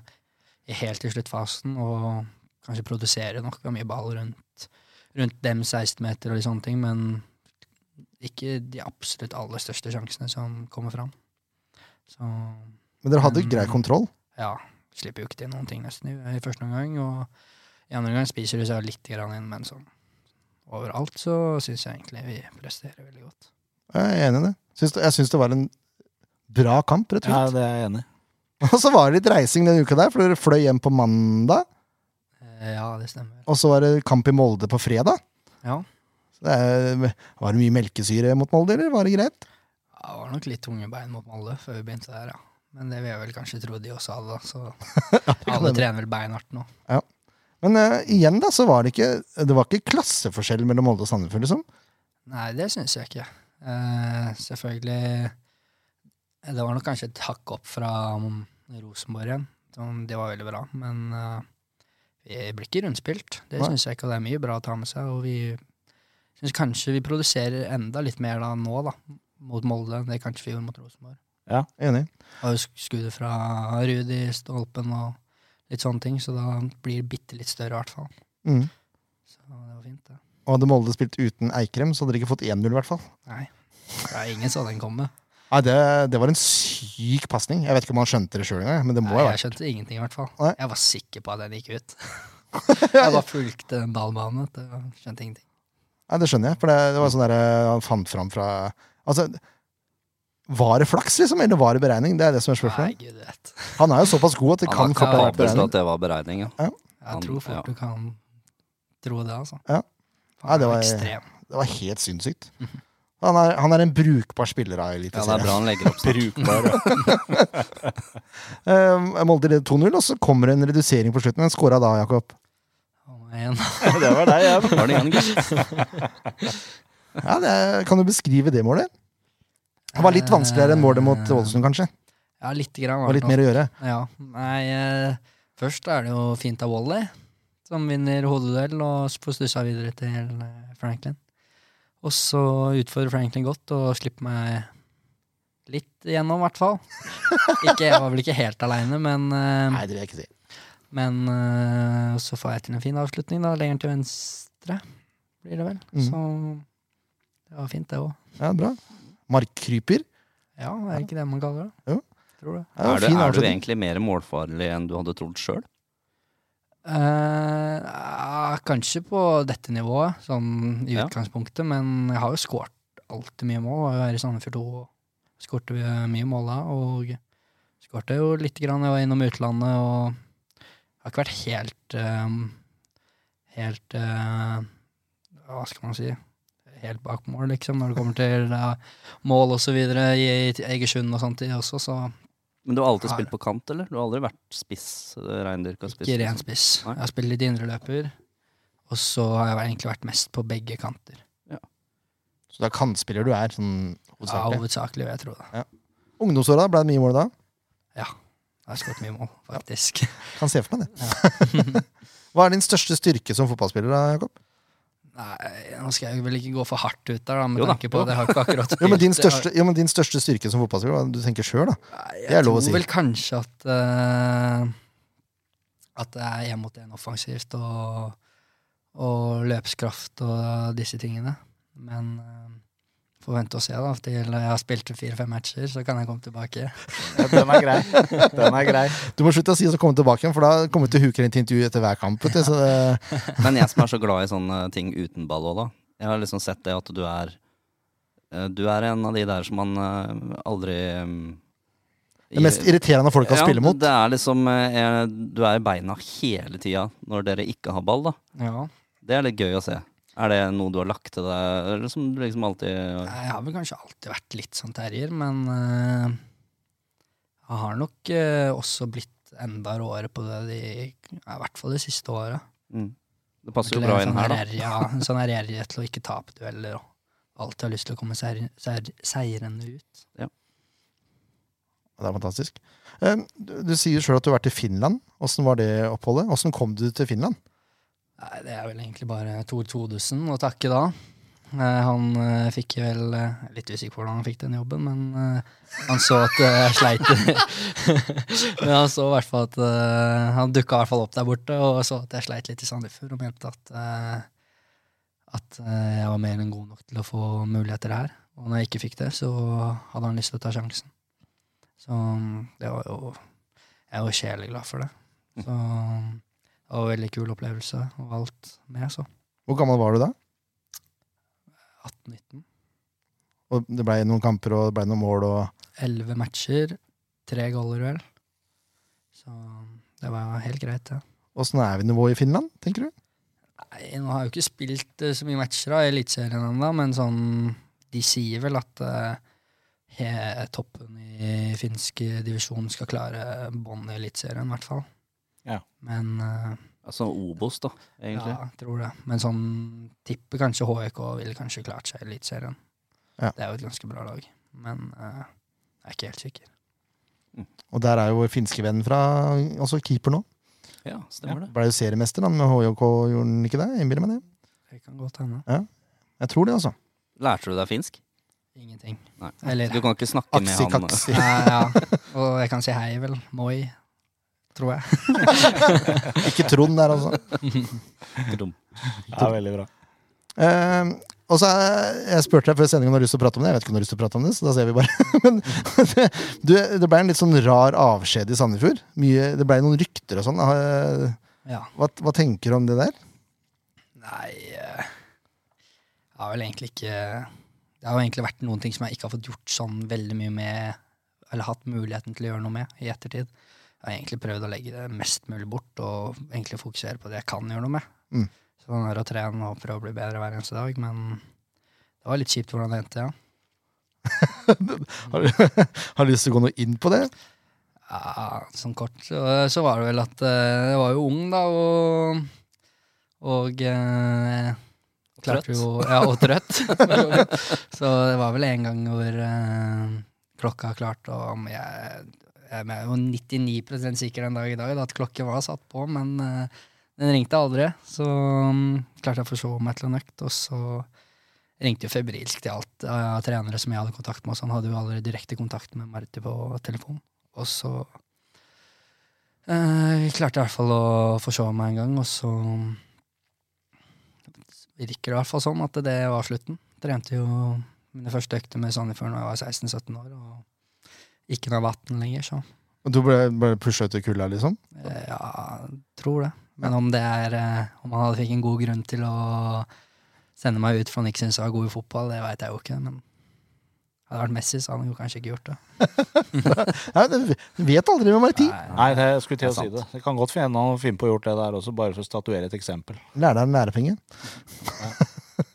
Speaker 4: i helt i sluttfasen, og kanskje produsere nok. Det var mye ball rundt, rundt dem 16-meter og litt sånne ting, men ikke de absolutt aller største sjansene som kommer fram. Så
Speaker 1: Men dere hadde
Speaker 4: Mm.
Speaker 1: grei kontroll.
Speaker 4: ja, slipper jo ikke til noen ting nesten i, i første omgang, og i andre omgang spiser de seg litt grann inn, men sånn overalt så syns jeg egentlig vi presterer veldig godt.
Speaker 1: Jeg er enig i det. Syns, jeg syns det var en bra kamp, rett og
Speaker 3: Ja,
Speaker 1: slett.
Speaker 3: det er jeg enig i.
Speaker 1: Og så var det litt reising denne uka der, for dere fløy hjem på mandag.
Speaker 4: Eh, ja, det stemmer.
Speaker 1: Og så var det kamp i Molde på fredag.
Speaker 4: Ja.
Speaker 1: Så det er, var det mye melkesyre mot Molde, eller var det greit?
Speaker 4: Ja, det var nok litt tunge bein mot Molde før vi begynte der, ja. Men det vil jeg vel kanskje tro de også hadde, da. Så
Speaker 1: hende.
Speaker 4: alle trener vel beinhardt nå.
Speaker 1: Men eh, igjen, da, så var det ikke Det var ikke klasseforskjell mellom Molde og Sandefjord, liksom.
Speaker 4: Nei, det syns jeg ikke. Eh, selvfølgelig Det var nok kanskje et hakk opp fra mm, Rosenborg igjen. som- Det var veldig bra, men eh, vi blir ikke rundspilt. Det
Speaker 1: Nei.
Speaker 4: syns jeg ikke, og det er mye bra å ta med seg. Og vi syns kanskje vi produserer enda litt mer da nå, da, mot Molde, enn det kanskje vi gjorde mot Rosenborg.
Speaker 1: Enig.
Speaker 4: har jo sk- skuddet fra Ruud i stolpen og litt sånne ting, så da blir det bitte litt større i hvert fall.
Speaker 1: Mm.
Speaker 4: Så det var fint, det.
Speaker 1: Og hadde Molde spilt uten Eikrem, så hadde dere ikke fått 1-0, i hvert fall.
Speaker 4: Nei. Ja, ingen så den komme.
Speaker 1: Nei, det, det var en syk pasning. Jeg vet ikke om han skjønte det sjøl engang, men det må
Speaker 4: Nei,
Speaker 1: jo
Speaker 4: jeg
Speaker 1: være
Speaker 4: skjønte ingenting, i hvert fall.
Speaker 1: Nei.
Speaker 4: Jeg var sikker på at den gikk ut. jeg bare fulgte den ballbanen. vet du, og Skjønte ingenting.
Speaker 1: Nei, det skjønner jeg, for det, det var sånn der eh, han fant fram fra Altså, var det flaks, liksom, eller var det beregning? Det er det som er
Speaker 4: Nei,
Speaker 1: spørsmålet.
Speaker 4: gud vet.
Speaker 1: Han er jo såpass god at det
Speaker 2: Han
Speaker 1: kan
Speaker 2: har
Speaker 1: fort ha vært
Speaker 2: kapabel til
Speaker 1: beregning.
Speaker 2: at det var beregning, ja. Han-
Speaker 4: Jeg tror fort
Speaker 2: ja.
Speaker 4: du kan tro det, altså.
Speaker 1: Ja.
Speaker 4: Faen,
Speaker 1: Nei, det
Speaker 4: han er
Speaker 1: var-
Speaker 4: ekstrem.
Speaker 1: Det var helt sinnssykt. Han er, han er en brukbar spiller av
Speaker 2: Ja, det er
Speaker 1: Eliteserien.
Speaker 2: bra han legger opp sånn. snart.
Speaker 3: Brukbar. ja.
Speaker 1: Eh, Molde leder 2-0, og så kommer det en redusering på slutten. Hvem skåra da, Jakob?
Speaker 4: Å, igjen.
Speaker 3: Det var deg igjen.
Speaker 2: Var det igjen, gutt?
Speaker 1: Ja, det er, kan du beskrive det målet? Det var litt vanskeligere enn målet mot Ålesund, kanskje.
Speaker 4: Ja, lite grann.
Speaker 1: Det
Speaker 4: var
Speaker 1: var
Speaker 4: det
Speaker 1: litt
Speaker 4: nok.
Speaker 1: mer å gjøre.
Speaker 4: Ja, nei eh, Først er det jo fint av Wally, som vinner hodeduell og s- får stussa videre til eh, Franklin. Og så utfordrer Franklin godt og slipper meg litt igjennom, i hvert fall. Ikke- Jeg var vel ikke helt aleine, men eh,
Speaker 1: det vil jeg ikke si.
Speaker 4: Men eh, så får jeg til en fin avslutning, da. Lenger til venstre, blir det vel.
Speaker 1: Mm.
Speaker 4: Så det var fint, det òg.
Speaker 1: Ja, bra. Markkryper.
Speaker 4: Ja, er det ikke det man kaller det?
Speaker 1: Jo.
Speaker 4: Tror det.
Speaker 1: Ja,
Speaker 2: er, du,
Speaker 1: fin
Speaker 2: er du
Speaker 1: avslutning.
Speaker 2: egentlig mer målfarlig enn du hadde trodd sjøl?
Speaker 4: Eh, ja, kanskje på dette nivået, sånn i
Speaker 2: Ja.
Speaker 4: utgangspunktet, men jeg har jo skåret alltid mye mål. Jeg var i Sandefjord 2 og skårte mye mål da, og skårte jo litt grann. Jeg var innom utlandet og har ikke vært helt eh, Helt eh, Hva skal man si? Helt bak mål, liksom, når det kommer til eh, mål og så videre i i Egersund og sånt også, så
Speaker 2: Men du har alltid
Speaker 4: Har
Speaker 2: spilt på kant, eller? Du har aldri vært spiss? eh, Reindyrka spiss?
Speaker 4: Ikke
Speaker 2: liksom.
Speaker 4: ren spiss.
Speaker 2: Nei.
Speaker 4: Jeg har spilt litt indreløper. Og så har jeg egentlig vært mest på begge kanter.
Speaker 1: Så det er kantspiller du er, sånn
Speaker 4: Ja,
Speaker 1: hovedsakelig.
Speaker 4: hovedsakelig, vil jeg tro. Da.
Speaker 1: Ungdomsåra ble det mye mål da.
Speaker 4: Jeg har skåret mye mål, faktisk.
Speaker 1: Kan se for meg det. Hva er din største styrke som fotballspiller, da, Jakob?
Speaker 4: Nei, nå skal jeg vel ikke gå for hardt ut der, da, med
Speaker 2: Jo da,
Speaker 4: tanke på
Speaker 2: jo.
Speaker 4: at jeg har ikke akkurat
Speaker 1: Jo,
Speaker 2: eh,
Speaker 1: men din
Speaker 4: spilt-
Speaker 1: største, jo, men din største styrke som fotballspiller, hva er det du tenker sjøl, da?
Speaker 4: Nei, Jeg,
Speaker 1: det er lov å
Speaker 4: tror
Speaker 1: si.
Speaker 4: vel kanskje at eh, At det er én mot én offensivt, og, og løpskraft og disse tingene. Men eh, får vente og se, da. Til jeg har spilt fire-fem matcher, så kan jeg komme tilbake.
Speaker 3: Den er grei. Den er grei.
Speaker 1: Du må slutte å si og så komme tilbake igjen, for da kommer du til å huke inn til intervju etter hver kamp. Vet du, så det,
Speaker 2: Men jeg som er så glad i sånne ting uten ball òg, da. Jeg har liksom sett det at du er eh, Du er en av de der som man eh, aldri
Speaker 1: det mest irriterende folk kan spille mot.
Speaker 2: Det er liksom eh, er- Du er i beina hele tida når dere ikke har ball, da.
Speaker 4: Ja.
Speaker 2: Det er litt gøy å se. Er det noe du har lagt til deg, eller som du liksom alltid
Speaker 4: Nei, Jeg har vel kanskje alltid vært litt sånn terrier, men eh, jeg har nok eh, også blitt enda råere på det de, ja, i hvert fall det siste året.
Speaker 2: mm. Det passer jo bra inn her, da.
Speaker 4: Ja, en sånn ærgjerrighet til å ikke tape dueller og alltid har lyst til å komme seier, seier, seirende ut.
Speaker 1: Det er fantastisk. Eh, Du, du sier sjøl at du har vært i Finland. Åssen var det oppholdet? Åssen kom du til Finland?
Speaker 4: Nei, det er vel egentlig bare Tor Todesen å takke da. Eh, Han eh, fikk vel eh, jeg er Litt usikker på hvordan han fikk den jobben, men eh, han så at eh, jeg sleit. men han så i hvert fall at eh, Han dukka i hvert fall opp der borte og så at jeg sleit litt i Sandefjord og mente at, eh, at eh, jeg var mer enn god nok til å få muligheter her. Og når jeg ikke fikk det, så hadde han lyst til å ta sjansen. Så mm, det var jo Jeg er jo sjeleglad for det. Så mm, det var en veldig kul opplevelse og alt med, så.
Speaker 1: Hvor gammel var du da?
Speaker 4: 18-19.
Speaker 1: Og det blei noen kamper og det ble noen mål. Og
Speaker 4: 11 matcher, tre goller vel. Så det var helt greit, det.
Speaker 1: åssen er vi nivået i Finland, tenker du?
Speaker 4: Nei, nå har jeg jo ikke spilt eh, så mye matcher da, i Eliteserien ennå, men sånn De sier vel at eh, he, toppen i finsk divisjon skal klare bånn i Eliteserien, i hvert fall.
Speaker 3: Ja.
Speaker 4: Men eh,
Speaker 2: Altså Obos, da, egentlig.
Speaker 4: ja, tror det. Men sånn tipper kanskje HEK ville kanskje klart seg i Eliteserien.
Speaker 1: Ja.
Speaker 4: Det er jo et ganske bra lag, men eh, jeg er ikke helt sikker.
Speaker 1: Og der er jo vår finske venn fra også keeper nå.
Speaker 2: Ja, stemmer det.
Speaker 1: Blei jo seriemester han med HJK, gjorde han ikke det? Jeg Innbiller meg det.
Speaker 4: Det kan godt hende.
Speaker 1: Jeg tror det, altså.
Speaker 2: Lærte du deg finsk?
Speaker 4: Ingenting.
Speaker 2: Nei.
Speaker 4: Eller
Speaker 2: Du kan ikke snakke med
Speaker 1: Aksi,
Speaker 2: han.
Speaker 1: kaksi.
Speaker 4: ja, ja. Og jeg kan si hei, vel. Moi, tror jeg.
Speaker 1: Ikke Trond der, altså.
Speaker 2: eh, Dum.
Speaker 3: Ja, veldig bra.
Speaker 1: Eh, og så er, jeg spurte deg før sendingen om du har lyst til å prate om det. Jeg vet ikke om du har lyst til å prate om det, så da ser vi bare. Men det, du, det ble en litt sånn rar avskjed i Sandefjord. Mye, det ble noen rykter og sånn. Eh,
Speaker 4: Ja.
Speaker 1: Hva, hva tenker du om det der?
Speaker 4: Nei eh, Jeg har vel egentlig ikke Det har jo egentlig vært noen ting som jeg ikke har fått gjort sånn veldig mye med, eller hatt muligheten til å gjøre noe med i ettertid. Jeg har egentlig prøvd å legge det mest mulig bort og egentlig fokusere på det jeg kan gjøre noe med.
Speaker 1: Mm.
Speaker 4: Så den er å trene og prøve å bli bedre hver eneste dag, men det var litt kjipt hvordan det endte, ja.
Speaker 1: Har, du- har du lyst til å gå noe inn på det?
Speaker 4: Ja, sånn kort så, så var det vel at eh, jeg var jo ung da, og, og eh, klarte
Speaker 2: Trøtt.
Speaker 4: Jo, ja, og trøtt. så det var vel en gang hvor eh, klokka klarte å men jeg, jeg er jo 99 sikker den dag i dag da, at klokken var satt på, men eh, den ringte aldri. Så mm, klarte jeg å forsove meg til en økt, og så ringte jo febrilsk til alt av trenere som jeg hadde kontakt med, og så han hadde jo aldri direkte kontakt med Marti på telefon. Og så Eh, vi klarte i hvert fall å få se meg en gang, og så virker det i hvert fall sånn at det var slutten. Trente jo mine første økter med Sandefjord da jeg var 16-17 år, og ikke noe vann lenger, så
Speaker 1: Og Du ble, ble pusha ut i kulda, liksom?
Speaker 4: eh, ja, tror det. Men om det er eh, Om han hadde fikk en god grunn til å sende meg ut for han ikke syntes jeg var god i fotball, det veit jeg jo ikke, men hadde det vært Messi, så hadde han jo kanskje ikke gjort det.
Speaker 1: Nei, det- vet aldri med Marti.
Speaker 3: Nei, det jeg skulle til å
Speaker 2: Det er
Speaker 3: si det. Det kan godt finne han finne på å gjort det der også, bare for å statuere et eksempel.
Speaker 1: Lære deg en lærepenge.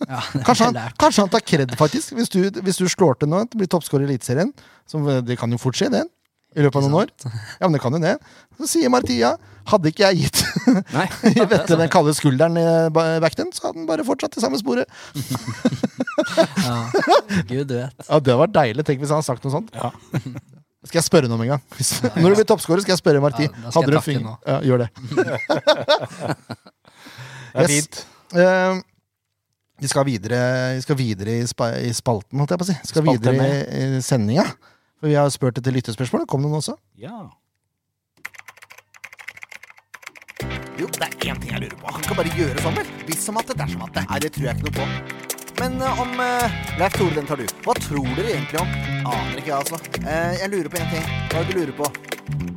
Speaker 4: Ja, det
Speaker 1: Kanskje
Speaker 4: har jeg
Speaker 1: han, kanskje han tar kred, faktisk. Hvis du, hvis du slår til nå, blir toppskårer i Eliteserien, som eh, det kan jo fort skje, det, i løpet av noen år, ja, men det kan jo det, så sier Martia hadde ikke jeg gitt
Speaker 2: Nei,
Speaker 1: Vetle den kalde skulderen eh, ba- back then, så hadde han bare fortsatt i samme sporet.
Speaker 4: lært. Ja. Gud vet.
Speaker 1: Ja, Det var deilig. Tenk hvis han hadde sagt noe sånt.
Speaker 3: Ja.
Speaker 1: Skal jeg spørre noe om en gang? Hvis- Når du blir toppskårer, skal jeg spørre Marti.
Speaker 4: Ja, da
Speaker 1: hadde
Speaker 4: skal
Speaker 1: du en
Speaker 4: jeg takke
Speaker 1: finger
Speaker 4: nå.
Speaker 1: ja, Gjør det.
Speaker 3: Det er
Speaker 1: Yes.
Speaker 3: fint.
Speaker 1: Eh, vi, skal videre, vi skal videre i, spa, i spalten, holdt jeg på å si. Vi skal
Speaker 3: Spalten,
Speaker 1: videre i, i sendinga. For vi har spurt etter lyttespørsmål. Kom det noen også?
Speaker 3: Ja.
Speaker 5: Jo, det er én ting jeg lurer på. Han kan bare gjøre sånn, vel? Hvis som at det dersom at det. Nei, det tror jeg ikke noe på. Men eh, om uh, Leif Tore, den tar du. Hva tror dere egentlig om? Aner ikke, jeg, altså. Eh, jeg lurer på én ting. Hva er det du lurer på?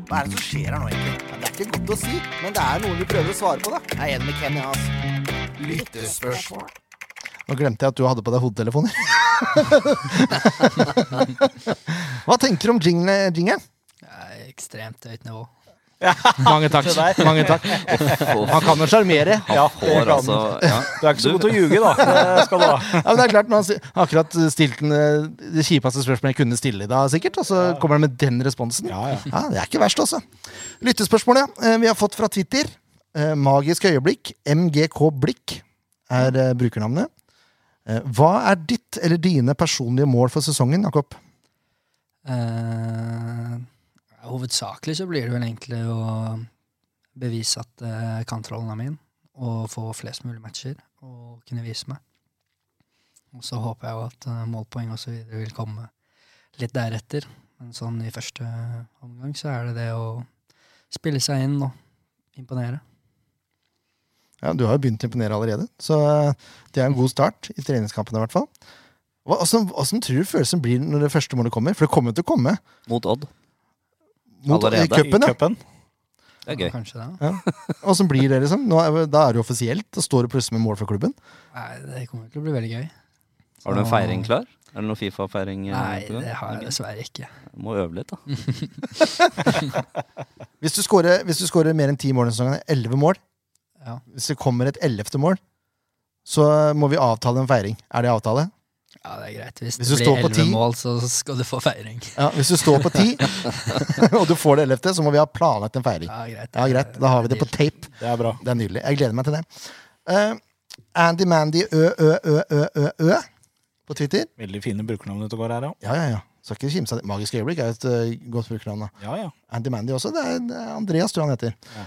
Speaker 5: Hva er det som skjer her nå, egentlig? Ja, det er ikke godt å si, men det er noen vi prøver å svare på, da. Jeg er enig med Kenny, altså. Lyttespørsmål.
Speaker 1: Nå glemte jeg at du hadde på deg hodetelefoner. Hva tenker du om jingle- jingle?
Speaker 4: Ja, ekstremt høyt nivå.
Speaker 1: Mange takk. Mange takk.
Speaker 2: han
Speaker 1: Han kan jo sjarmere.
Speaker 3: Ja, det
Speaker 2: får
Speaker 3: kan
Speaker 2: altså ja.
Speaker 3: Du er ikke så god til å ljuge, da. Det skal du ha.
Speaker 1: Ja, men det er klart, når han sier- akkurat stilt den, eh, det kjipeste spørsmålet jeg kunne stille i dag, sikkert. Og så kommer han med den responsen.
Speaker 3: Ja, ja.
Speaker 1: det er ikke verst, altså. Lyttespørsmålet eh, vi har fått fra Twitter. eh, Magisk øyeblikk, MGK Blikk, er eh, brukernavnet. Eh, Hva er ditt eller dine personlige mål for sesongen, Jakob?
Speaker 4: Eh, hovedsakelig så blir det vel egentlig å bevise at eh, kantrollen er min, og få flest mulig matcher og kunne vise meg. Og så håper jeg jo at eh, målpoeng og så videre vil komme litt deretter. Men sånn i første omgang så er det det å spille seg inn og imponere.
Speaker 1: Ja, Du har jo begynt å imponere allerede, så eh, det er en god start i treningskampene. i hvert fall. Hva- Åssen åssen tror du følelsen blir når det første målet kommer? For det kommer jo til å komme.
Speaker 2: Mot Odd.
Speaker 1: Mot, i
Speaker 2: Allerede.
Speaker 3: I
Speaker 1: cupen, ja.
Speaker 3: cupen.
Speaker 2: Det er gøy.
Speaker 4: Kanskje det. da.
Speaker 1: Åssen blir det, liksom? Nå er, da er det jo offisielt. Da står det plutselig med mål for klubben.
Speaker 4: Nei, det kommer til å bli veldig gøy.
Speaker 2: Har du en feiring klar? Er det noen Fifa-feiring? eh,
Speaker 4: Nei,
Speaker 2: på gang?
Speaker 4: det har jeg
Speaker 2: Ok.
Speaker 4: dessverre ikke.
Speaker 2: Må øve litt, da.
Speaker 1: Hvis du scorer, hvis du scorer mer enn ti mål i sesongen, elleve mål
Speaker 4: Ja.
Speaker 1: Hvis det kommer et ellevte mål, så må vi avtale en feiring. Er det avtale?
Speaker 4: Ja, det er greit. Hvis,
Speaker 1: Hvis du
Speaker 4: det
Speaker 1: står
Speaker 4: blir
Speaker 1: på 10
Speaker 4: elleve mål, så skal du få feiring.
Speaker 1: Ja, hvis du står på ti, og du får det ellevte, så må vi ha planlagt en feiring.
Speaker 4: Ja, greit.
Speaker 1: Ja, greit. Da har vi det på tape.
Speaker 3: Det er bra.
Speaker 1: Det er nydelig. Jeg gleder meg til det. Eh, Andy Mandy ø-ø-ø-ø-ø på Twitter.
Speaker 3: Veldig fine brukernavn ute og går her, ja.
Speaker 1: Ja, ja, ja. Skal ikke kimse av det. Magisk øyeblikk er jo et eh, godt brukernavn. da.
Speaker 3: Ja, ja.
Speaker 1: Andy Mandy også. Det er det er Andreas, tror jeg han heter.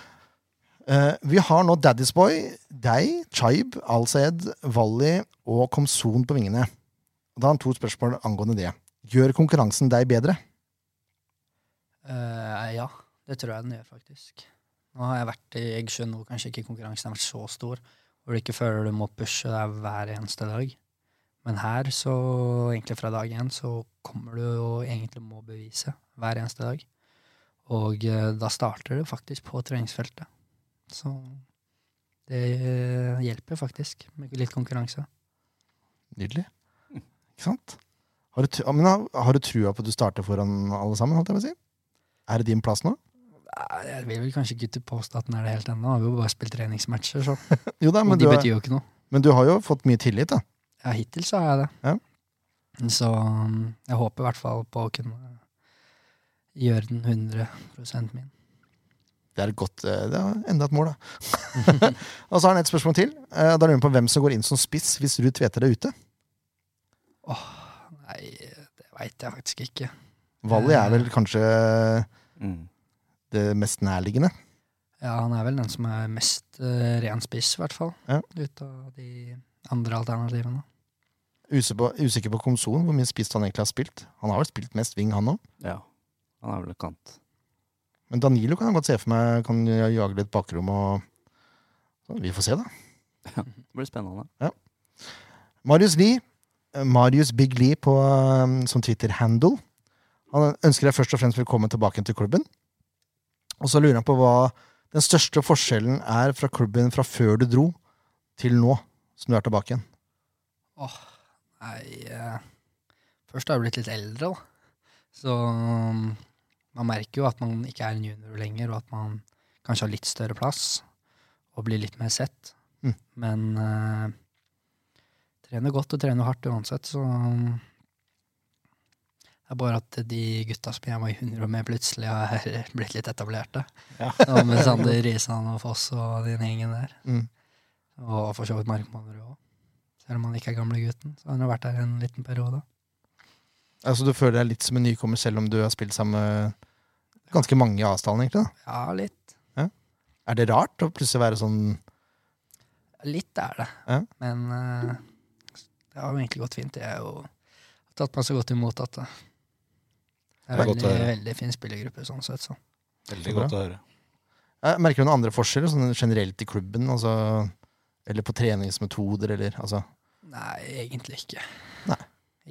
Speaker 1: Eh, vi har nå Daddy's Boy, deg, Chaib, Al-Sayed, Wally og Komson på vingene. Og Da har han to spørsmål angående det. Gjør konkurransen deg bedre?
Speaker 4: Eh, ja, det tror jeg den gjør, faktisk. Nå har jeg vært i Egersund, hvor kanskje ikke konkurransen har vært så stor. Hvor du ikke føler du må pushe deg hver eneste dag. Men her, så egentlig fra dag én, så kommer du og egentlig må bevise hver eneste dag. Og eh, da starter det faktisk på treningsfeltet. Så det eh, hjelper faktisk med litt konkurranse.
Speaker 1: Nydelig. Ikke sant? Har du, tru- ja, men har- har du trua på at du starter foran alle sammen? holdt jeg på å si? Er det din plass nå?
Speaker 4: Nei, Jeg vil vel kanskje ikke påstå at den er det helt ennå. Vi har jo bare spilt treningsmatcher, så.
Speaker 1: Jo da,
Speaker 4: Og
Speaker 1: men
Speaker 4: de
Speaker 1: du, har-
Speaker 4: betyr jo ikke noe.
Speaker 1: men du har jo fått mye tillit, da.
Speaker 4: Ja, hittil så har jeg det.
Speaker 1: Ja.
Speaker 4: Så um, jeg håper i hvert fall på å kunne gjøre den 100 min.
Speaker 1: Det er et godt eh, Det er enda et mål, da. og så har han et spørsmål til. Eh, Da lurer han på hvem som går inn som spiss hvis Ruud Tveter er ute.
Speaker 4: Nei, det veit jeg faktisk ikke.
Speaker 1: Wally er vel kanskje
Speaker 2: Mm.
Speaker 1: det mest nærliggende.
Speaker 4: Ja, han er vel den som er mest uh, ren spiss, i hvert fall.
Speaker 1: Ja.
Speaker 4: Ut av de andre alternativene.
Speaker 1: Usikker på, usikker på Komson, hvor mye spist han egentlig har spilt. Han har vel spilt mest wing, han òg.
Speaker 2: Ja. Han er vel kant.
Speaker 1: Men Danilo kan jeg godt se for meg kan jage litt bakrom. og så Vi får se, da.
Speaker 2: Det blir spennende.
Speaker 1: Marius Lie, eh, Marius Big Lie på, eh, som Twitter-handle. Han ønsker deg først og fremst velkommen tilbake til klubben. Og så lurer han på hva den største forskjellen er fra klubben fra før du dro, til nå, som du er tilbake igjen.
Speaker 4: Åh, nei eh, Først har jeg blitt litt eldre, da. Så mm, man merker jo at man ikke er en junior lenger, og at man kanskje har litt større plass og blir litt mer sett.
Speaker 1: Mm.
Speaker 4: Men eh, trener godt og trener hardt uansett, så mm, det er bare at de gutta som jeg var junior med, plutselig har blitt litt etablerte.
Speaker 3: Ja.
Speaker 4: Og med Sander Risan og Foss og den gjengen der.
Speaker 1: Mm.
Speaker 4: Og for så vidt Markmannerud òg. Selv om han ikke er gamlegutten. Så han har vært der en liten periode.
Speaker 1: Altså Du føler deg litt som en nykommer, selv om du har spilt sammen med ganske mange i avstanden. egentlig da.
Speaker 4: Ja, litt.
Speaker 1: Er det rart å plutselig være sånn
Speaker 4: Litt er det.
Speaker 1: Ja.
Speaker 4: Men eh, det har jo egentlig gått fint. Jeg har jo tatt meg så godt imot at det det
Speaker 3: Det
Speaker 4: er
Speaker 3: er godt
Speaker 4: veldig,
Speaker 3: å høre.
Speaker 4: veldig fin spillergruppe sånn sett. Så.
Speaker 3: Veldig
Speaker 1: bra.
Speaker 3: godt å høre.
Speaker 1: Jeg Merker du noen andre forskjeller sånn generelt i klubben? altså Eller på treningsmetoder, eller altså
Speaker 4: Nei, egentlig ikke.
Speaker 1: Nei.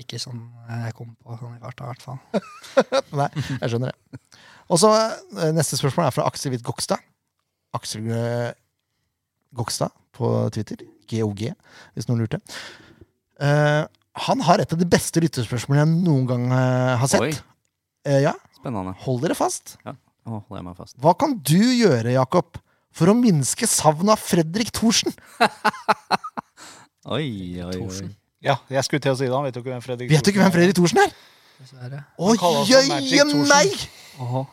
Speaker 4: Ikke sånn jeg kom på sånn i farta, i hvert fall.
Speaker 1: Nei, jeg skjønner det. Og så eh, Neste spørsmål er fra Aksel Hvitt Gokstad. Aksel eh, Gokstad på Twitter. GOG, hvis noen lurte. Eh, han har et av de beste lytterspørsmålene jeg noen gang eh, har sett.
Speaker 2: Oi.
Speaker 1: Eh, ja,
Speaker 2: Spennende.
Speaker 1: Hold dere fast.
Speaker 2: Nå holder jeg meg fast.
Speaker 1: Hva kan du gjøre, Jakob, for å minske savnet av Fredrik Thorsen?
Speaker 2: Oi, oi, oi.
Speaker 4: Thorsen.
Speaker 3: Ja, jeg skulle til å si det. Han vet jo ikke hvem Fredrik
Speaker 1: Vet du ikke hvem
Speaker 3: Thorsen er.
Speaker 1: Fredrik Thorsen er?
Speaker 4: Dessverre.
Speaker 1: Å,
Speaker 3: Han kaller seg Magic
Speaker 1: jøye
Speaker 3: Thorsen.
Speaker 1: nei!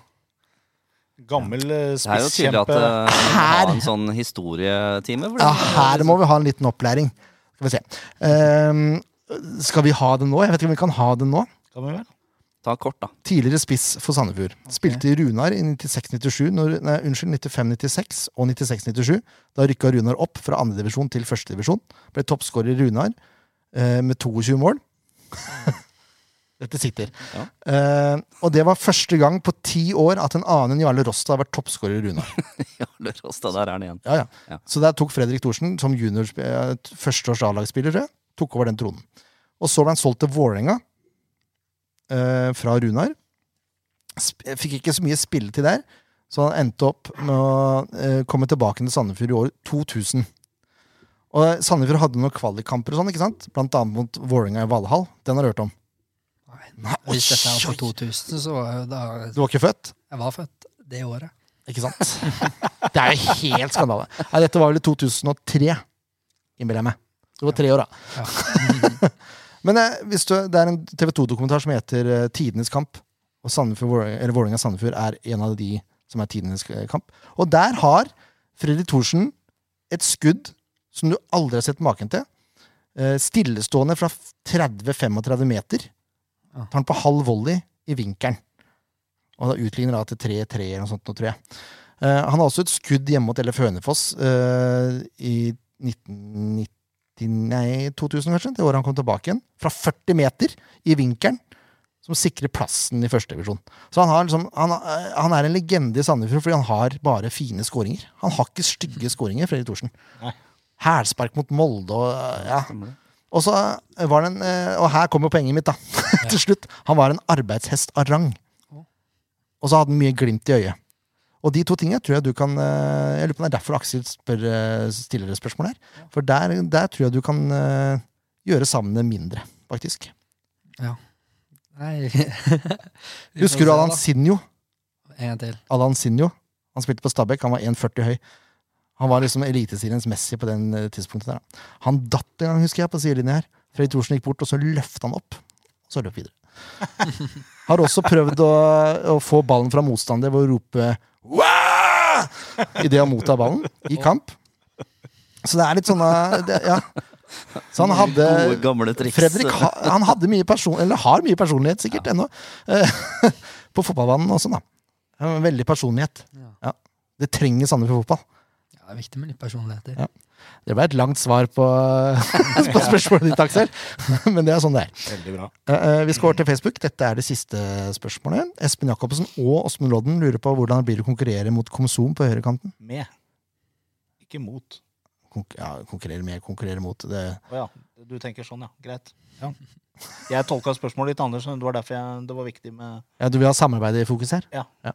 Speaker 3: Gammel eh,
Speaker 2: Det er jo tydelig at
Speaker 3: spisskjempe.
Speaker 2: eh, vi må
Speaker 1: Her!
Speaker 2: ha en sånn historietime. for
Speaker 1: Ja,
Speaker 2: det-
Speaker 1: her må vi ha en liten opplæring. Skal vi se. Ehm, skal vi ha det nå? Jeg vet ikke om vi kan ha det nå.
Speaker 3: Kan vi vel?
Speaker 2: Ta kort, da.
Speaker 1: Tidligere spiss for Sandefjord. Spilte i Runar i 96-97, når- nei, unnskyld, 95-96 og 96-97. Da rykka Runar opp fra andredivisjon til førstedivisjon. Ble toppskårer i Runar eh, med 22 mål. Dette sitter.
Speaker 2: Ja.
Speaker 1: Eh, og det var første gang på ti år at en annen enn Jarle Rosta har vært toppskårer i Runar.
Speaker 2: Jarle Rosta, der er den igjen.
Speaker 1: Ja, ja.
Speaker 2: Ja.
Speaker 1: Så der tok Fredrik Thorsen, som junior, eh, t- førsteårs A-lagsspiller, tror jeg, tok over den tronen. Og så ble han solgt til Vålerenga eh, fra Runar. Sp fikk ikke så mye spilletid der, så han endte opp med å eh, komme tilbake til Sandefjord i år 2000. Og Sandefjord hadde noen kvalikkamper og sånn, ikke sant? Blant annet mot Vålerenga i Valhall. Den har du hørt om.
Speaker 4: Nei.
Speaker 1: Nei, oi,
Speaker 4: Hvis dette er
Speaker 1: oi.
Speaker 4: på 2000, så var jo da
Speaker 1: Du var ikke født?
Speaker 4: Jeg var født det året.
Speaker 1: Ikke sant? Det er jo helt skandale. Nei, dette var vel i 2003, innbiller jeg meg. Du var tre år, da.
Speaker 4: Ja.
Speaker 1: Men eh, hvis du, det er en TV 2-dokumentar som heter eh, 'Tidenes kamp'. Og Sandefjord, Vålerenga- eller Vålerenga Sandefjord er en av de som er tidenes eh, kamp. Og der har Fredrik Thorsen et skudd som du aldri har sett maken til. Eh, Stillestående fra 30-35 meter.
Speaker 4: Ja.
Speaker 1: Tar den på halv volley i vinkelen. Og da utligner da til 3-3 eller noe sånt, nå, tror jeg. Eh, han har også et skudd hjemme mot LF Hønefoss eh, i 1990 Nei, 2000, kanskje. Det året han kom tilbake igjen. Fra 40 meter i vinkelen. Som sikrer plassen i førstedivisjon. Så han, har liksom, han, eh, han er en legende i Sandefjord fordi han har bare fine skåringer. Han har ikke stygge skåringer, Fredrik Thorsen.
Speaker 3: Nei.
Speaker 1: Hælspark mot Molde og eh, ja.
Speaker 2: Stemmer det.
Speaker 1: Og så eh, var det en eh, Og her kommer poenget mitt, da. Til slutt. Han var en arbeidshest av rang. Og så hadde han mye glimt i øyet. Og de to tingene tror jeg du kan eh, Jeg lurer på om det er derfor Aksel spør, eh, stiller det spørsmålet her. For der, der tror jeg du kan eh, gjøre savnet mindre, faktisk.
Speaker 4: Nei
Speaker 1: Husker du Alan Sinjo?
Speaker 4: En gang til.
Speaker 1: Alan Sinjo. Han spilte på Stabæk, han var 1,40 høy. Han var liksom eliteseriens Messi på den eh, tidspunktet der. da. Han datt en gang, husker jeg, på sidelinja her. Fredrik Thorsen gikk bort, og så løfta han opp. Og så løp videre. Har også prøvd å, å få ballen fra motstander ved å rope «Wah!» idet han mottar ballen i kamp. Så det er litt sånne det, Ja. Så han hadde
Speaker 2: Gode, gamle triks.
Speaker 1: Eh, Fredrik ha, han hadde mye person, eller har mye personlighet, sikkert, ennå. Eh, sånn, på fotballbanen også, da. Han har Veldig personlighet. Ja. Det trenger Sandefjord fotball.
Speaker 4: Ja, det er viktig med litt personligheter.
Speaker 1: Ja. Det ble et langt svar på, på spørsmålet ditt, Aksel. Men det er sånn det er.
Speaker 3: Veldig bra.
Speaker 1: Eh, eh, Vi skal over til Facebook. Dette er det siste spørsmålet. Espen Jacobsen og Åsmund Lodden lurer på hvordan det blir å konkurrere mot Komsom på høyrekanten.
Speaker 3: Med. Ikke mot.
Speaker 1: Konk ja, konkurrere med, konkurrere mot. Det
Speaker 3: Å ja. Du tenker sånn, ja. Greit. Ja. Jeg tolka spørsmålet ditt, Anders. men Det var derfor jeg, det var viktig med
Speaker 1: ja, du vil ha samarbeid i fokus her?
Speaker 3: Ja.
Speaker 1: Ja,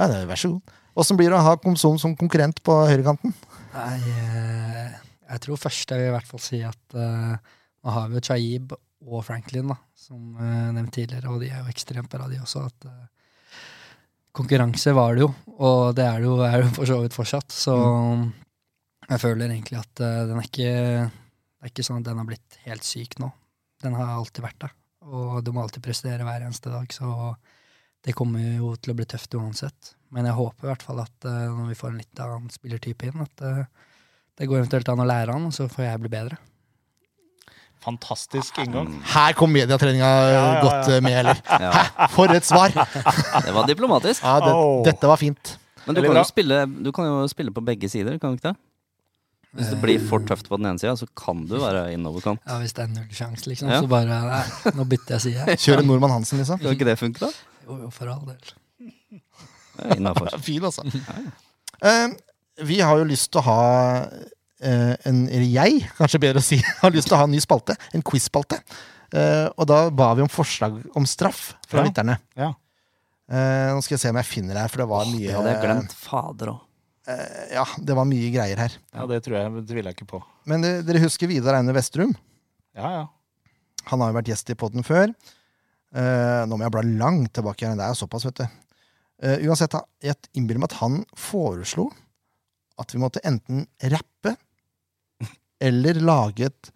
Speaker 1: ja det, vær så god. Åssen blir det å ha Komsom som konkurrent på høyrekanten?
Speaker 4: Nei, eh, jeg tror først jeg vil i hvert fall si at eh, nå har vi jo Chaib og Franklin, da, som eh, nevnt tidligere, og de er jo ekstremt bra, de også. at eh, Konkurranse var det jo, og det er det jo, er det jo for så vidt fortsatt. Så jeg føler egentlig at eh, den er ikke Det er ikke sånn at den har blitt helt syk nå. Den har alltid vært der, og du må alltid prestere hver eneste dag, så det kommer jo til å bli tøft uansett. Men jeg håper i hvert fall at eh, når vi får en litt annen spillertype inn, at eh, det går eventuelt an å lære han, og så får jeg bli bedre.
Speaker 3: fantastisk inngang.
Speaker 1: Her kom mediatreninga
Speaker 3: ja, ja.
Speaker 1: godt eh, med, eller?
Speaker 2: Ja,
Speaker 1: Hæ, for et svar!
Speaker 2: det var diplomatisk.
Speaker 1: Ja, det,
Speaker 3: Au.
Speaker 1: Dette var fint.
Speaker 2: Men du
Speaker 3: Veldig
Speaker 2: kan,
Speaker 3: bra.
Speaker 2: jo spille, du kan jo spille på begge sider, kan du ikke det? Hvis det blir for tøft på den ene sida, så kan du være innoverkant.
Speaker 4: Ja, Hvis det er null sjanse, liksom,
Speaker 2: Ja.
Speaker 4: så bare nei, Nå bytter jeg side.
Speaker 1: Kjøre Nordmann Hansen, liksom.
Speaker 2: Skal ikke det funke, da?
Speaker 4: Jo, jo, for all del.
Speaker 2: Det er Innenfor.
Speaker 1: Ja, Fin, altså. Eh, vi har jo lyst til å ha eh, en Eller jeg, kanskje bedre å si, har lyst til å ha en ny spalte. En quiz-spalte. Eh, og da ba vi om forslag om straff fra
Speaker 3: Ja.
Speaker 1: lytterne.
Speaker 3: Ja.
Speaker 1: Eh, nå skal jeg se om jeg finner det her, for det var mye
Speaker 2: Det hadde jeg glemt. Fader òg.
Speaker 1: eh, Ja, det var mye greier her.
Speaker 3: Ja, det tror jeg, det tviler jeg ikke på.
Speaker 1: Men eh, dere husker Vidar Aune Vestrum?
Speaker 3: Ja, ja.
Speaker 1: Han har jo vært gjest i podden før. Eh, nå må jeg bla langt tilbake. igjen. Det er såpass, vet du. Eh, uansett, han- jeg innbiller meg at han foreslo at vi måtte enten rappe eller lage et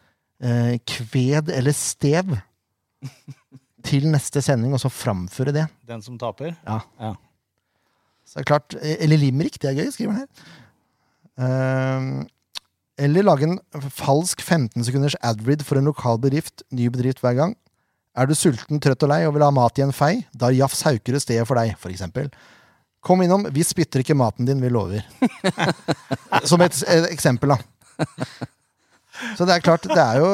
Speaker 1: eh, kved eller stev til neste sending, og så framføre det.
Speaker 3: Den som taper.
Speaker 1: Så det er klart, eh, Eller limerick, det er gøy, skriver han her. Eh, eller lage en falsk 15 sekunders adrid for en lokal bedrift, ny bedrift hver gang. Er du sulten, trøtt og lei og vil ha mat i en fei, da er Jafs Haukerud stedet for deg, for eksempel. Kom innom, vi spytter ikke maten din, vi lover. Som et, et eksempel, da. Så det er klart, det er jo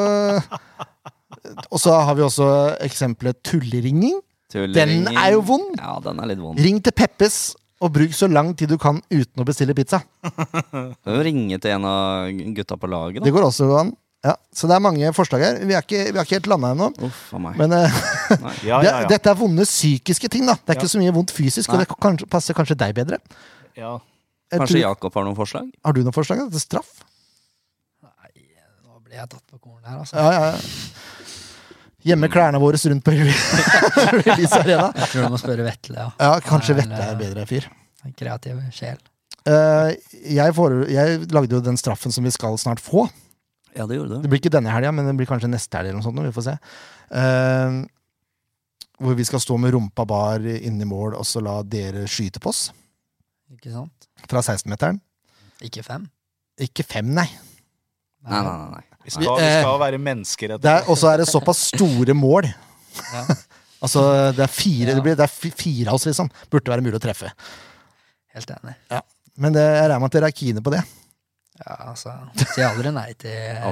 Speaker 1: Og så har vi også eksempelet tulleringing. Den er jo vond.
Speaker 2: Ja, den er litt vond.
Speaker 1: Ring til Peppes og bruk så lang tid du kan uten å bestille pizza.
Speaker 2: Du kan jo ringe til en av gutta på laget,
Speaker 1: Det
Speaker 2: da.
Speaker 1: går også an. Ja, så det er mange forslag her. Vi er ikke, vi er ikke helt landa ennå.
Speaker 2: Uff a meg.
Speaker 1: Men eh,
Speaker 3: Ja,
Speaker 1: det,
Speaker 3: ja, ja.
Speaker 1: dette er vonde psykiske ting. da Det er
Speaker 3: Ja.
Speaker 1: ikke så mye vondt fysisk, og
Speaker 2: Nei.
Speaker 1: det kanskje, passer kanskje deg bedre.
Speaker 3: ja.
Speaker 1: Jeg
Speaker 2: Kanskje
Speaker 1: tror,
Speaker 2: Jakob har noen forslag?
Speaker 1: har du noen forslag da, til straff?
Speaker 4: Nå ble jeg tatt på kornet her, altså.
Speaker 1: Ja, ja, ja. Gjemme klærne våre rundt på Release Arena.
Speaker 4: Jeg tror du må spørre Vetle, ja.
Speaker 1: Ja, kanskje
Speaker 4: Nei,
Speaker 1: Vetle er en bedre fyr.
Speaker 4: En kreativ sjel.
Speaker 1: Eh, jeg, fore- jeg lagde jo den straffen som vi skal snart få.
Speaker 2: Ja, det gjorde du.
Speaker 1: Det blir ikke denne helga, men det blir kanskje neste helg. eller noe sånt, nå, Vi får se. Eh, hvor vi skal stå med rumpa bar inni mål og så la dere skyte på oss
Speaker 4: Ikke sant?
Speaker 1: fra 16-meteren.
Speaker 4: Ikke fem.
Speaker 1: Ikke fem, nei.
Speaker 2: Nei, nei, nei.
Speaker 1: Eh,
Speaker 2: nei.
Speaker 3: Vi, skal, vi skal være mennesker
Speaker 1: Det
Speaker 3: etter
Speaker 1: er- Og så er det såpass store mål.
Speaker 4: Ja.
Speaker 1: Altså, det er fire
Speaker 4: Ja.
Speaker 1: det blir, det er fi- fire av oss, liksom. Burde være mulig å treffe.
Speaker 4: Helt enig.
Speaker 1: Men det, jeg regner med at dere er kine på det.
Speaker 4: Ja, altså. Si aldri nei til eh, litt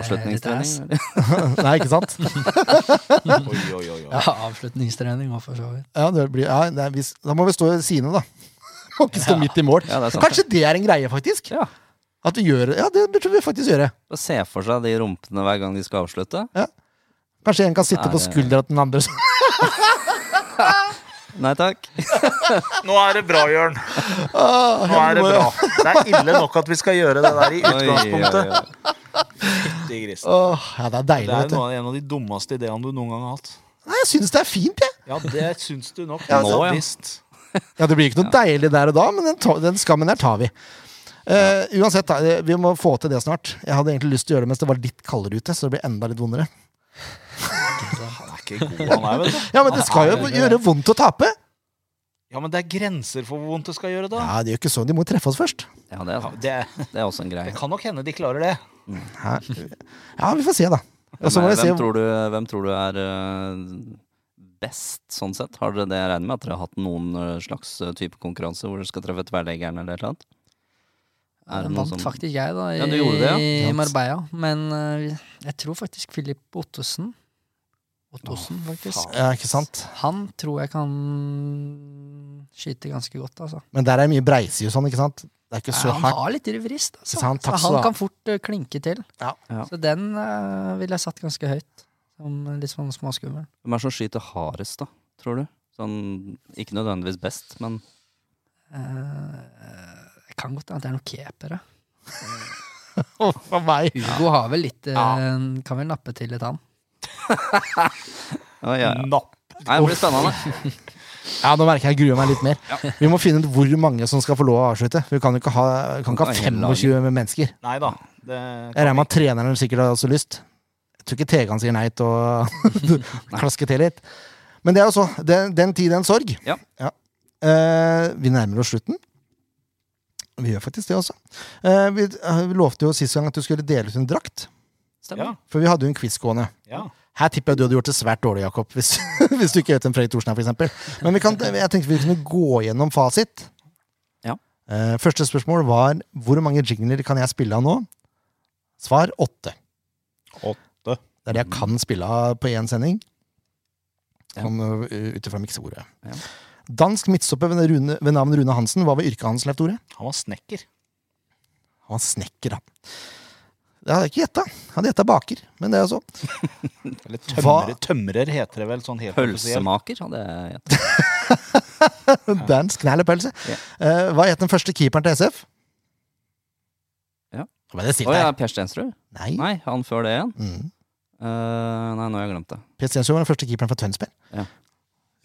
Speaker 4: ass.
Speaker 2: Avslutningstrening.
Speaker 1: Nei, ikke sant?
Speaker 3: Oi, oi, oi, oi.
Speaker 4: Ja, avslutningstrening òg, for så vidt.
Speaker 1: Ja, det blir, ja, det er, vi, da må vi stå ved siden av, da. Må ikke stå midt i mål.
Speaker 2: Ja, det er sant,
Speaker 1: Kanskje det er en greie, faktisk?
Speaker 2: Ja.
Speaker 1: At vi gjør, ja, det burde vi faktisk gjøre.
Speaker 2: Bare Se for seg de rumpene hver gang de skal avslutte.
Speaker 1: Kanskje en kan sitte
Speaker 2: Nei,
Speaker 1: på
Speaker 2: det-
Speaker 1: skuldra til den andre.
Speaker 2: Nei takk.
Speaker 3: Nå er det bra, Jørn.
Speaker 1: Ah,
Speaker 3: Nå er det
Speaker 1: må-
Speaker 3: bra. Det er ille nok at vi skal gjøre det der i utgangspunktet.
Speaker 2: Oi, oi, oi.
Speaker 3: Fytti grisen.
Speaker 1: Åh, ja, det er deilig,
Speaker 3: Det er
Speaker 1: vet du.
Speaker 3: noe, en av de dummeste ideene du noen gang har hatt.
Speaker 1: Nei, jeg syns det er fint, jeg.
Speaker 3: Ja, det syns du nok.
Speaker 2: Ja,
Speaker 3: altså,
Speaker 2: nå, ja.
Speaker 3: visst.
Speaker 1: Ja, Det blir ikke noe deilig der og da, men den, ta, den skammen der tar vi. Eh, uansett, da, eh, vi må få til det snart. Jeg hadde egentlig lyst til å gjøre det mens det var litt kaldere ute. Så det blir enda litt vondere
Speaker 3: Han er ikke god, han er, vet du.
Speaker 1: Ja, Men det skal jo gjøre vondt å tape!
Speaker 3: Ja, men det er grenser for hvor vondt det skal gjøre, da.
Speaker 1: Ja, Det gjør ikke sånn, de må jo treffe oss først.
Speaker 2: Ja, det er,
Speaker 3: Ja,
Speaker 2: sant.
Speaker 3: det,
Speaker 2: det er også en greie.
Speaker 3: det kan nok hende de klarer det.
Speaker 1: Ja, ja vi får se, da. Og så må
Speaker 2: Nei,
Speaker 1: vi se
Speaker 2: hvem, tror du, hvem tror du er eh, best, sånn sett? Har dere det jeg regner med? At dere har hatt noen eh, slags eh, type konkurranse hvor dere skal treffe tverrleggeren eller et eller annet? Er det
Speaker 4: Jeg
Speaker 2: noe
Speaker 4: vant
Speaker 2: som-
Speaker 4: faktisk jeg, da, i,
Speaker 2: Ja, du gjorde det, ja.
Speaker 4: i
Speaker 1: Sant.
Speaker 4: Marbella. Men eh, jeg tror faktisk Filip Ottosen Ottosen, faktisk.
Speaker 1: Ja, ikke sant?
Speaker 4: Han tror jeg kan skyte ganske godt, altså.
Speaker 1: Men der er mye breise i og sånn, ikke sant? Det er ikke så
Speaker 4: han
Speaker 1: hardt.
Speaker 4: har litt rivrist, altså.
Speaker 1: Så han
Speaker 4: så
Speaker 1: tapser,
Speaker 4: han
Speaker 1: da.
Speaker 4: kan fort eh, klinke til.
Speaker 1: Ja.
Speaker 2: Ja.
Speaker 4: Så den uh, ville jeg satt ganske høyt. Som litt sånn småskummel.
Speaker 2: Hvem er det som skyter hardest, da? Tror du? Sånn, ikke nødvendigvis best, men
Speaker 4: Eh, det kan godt hende at det er noen keepere.
Speaker 1: For meg.
Speaker 4: Hugo har vel litt eh, Kan vel nappe til litt, han.
Speaker 2: ja, ja, ja.
Speaker 3: Napp.
Speaker 2: Nei, det blir spennende.
Speaker 1: Ja, nå merker jeg jeg gruer meg litt mer. Vi må finne ut hvor mange som skal få lov å avslutte. Vi kan jo ikke ha, kan ikke ha
Speaker 2: Kan hele
Speaker 1: 25 mennesker.
Speaker 3: Nei da. Det
Speaker 1: Jeg regner med at treneren sikkert har også lyst. Jeg tror ikke Tegan sier nei til å klaske til litt. Men det er jo så. Den, den tid, den sorg.
Speaker 2: Ja.
Speaker 1: Eh, vi nærmer oss slutten. Vi gjør faktisk det også. Eh, vi, eh, vi lovte jo sist gang at du skulle dele ut en drakt.
Speaker 3: ja,
Speaker 2: Stemmer.
Speaker 1: For vi hadde jo en quiz gående.
Speaker 3: ja.
Speaker 1: Her tipper jeg du hadde gjort det svært dårlig, Jakob. Hvis, hvis du ikke vet hvem Fredrik Thorsen er, for eksempel. Men vi kan, jeg tenkte vi kunne gå gjennom fasit.
Speaker 2: Ja.
Speaker 1: Eh, første spørsmål var hvor mange jingler kan jeg spille av nå? Svar åtte.
Speaker 3: Åtte.
Speaker 1: Det er det jeg kan spille av på én sending.
Speaker 2: Mm. Ja.
Speaker 1: Sånn, ø, Ut ifra mikseordet.
Speaker 2: Ja.
Speaker 1: Dansk midtstopper ved, Rune- ved navn Rune Hansen. Hva var yrket hans, Leif Tore?
Speaker 3: Han var snekker.
Speaker 1: Han var snekker, han. Det hadde jeg ikke gjetta. Jeg Hadde gjetta baker, men det er altså. jo så.
Speaker 3: Eller
Speaker 1: Hva-
Speaker 3: tømrer, tømrer heter det vel sånn helt offisielt.
Speaker 2: Pølsemaker hadde jeg gjett.
Speaker 1: Dansk knallepølse.
Speaker 2: Ja.
Speaker 1: Eh, hva het den første keeperen til SF?
Speaker 2: Ja.
Speaker 1: Hva er det jeg sier
Speaker 2: Å ja,
Speaker 1: der?
Speaker 2: Per Stensrud?
Speaker 1: Nei.
Speaker 2: Nei, han før det igjen?
Speaker 1: Mm.
Speaker 2: Eh, nei, nå har jeg glemt det.
Speaker 1: Per Stensrud var den første keeperen fra Tønsberg.
Speaker 2: Ja.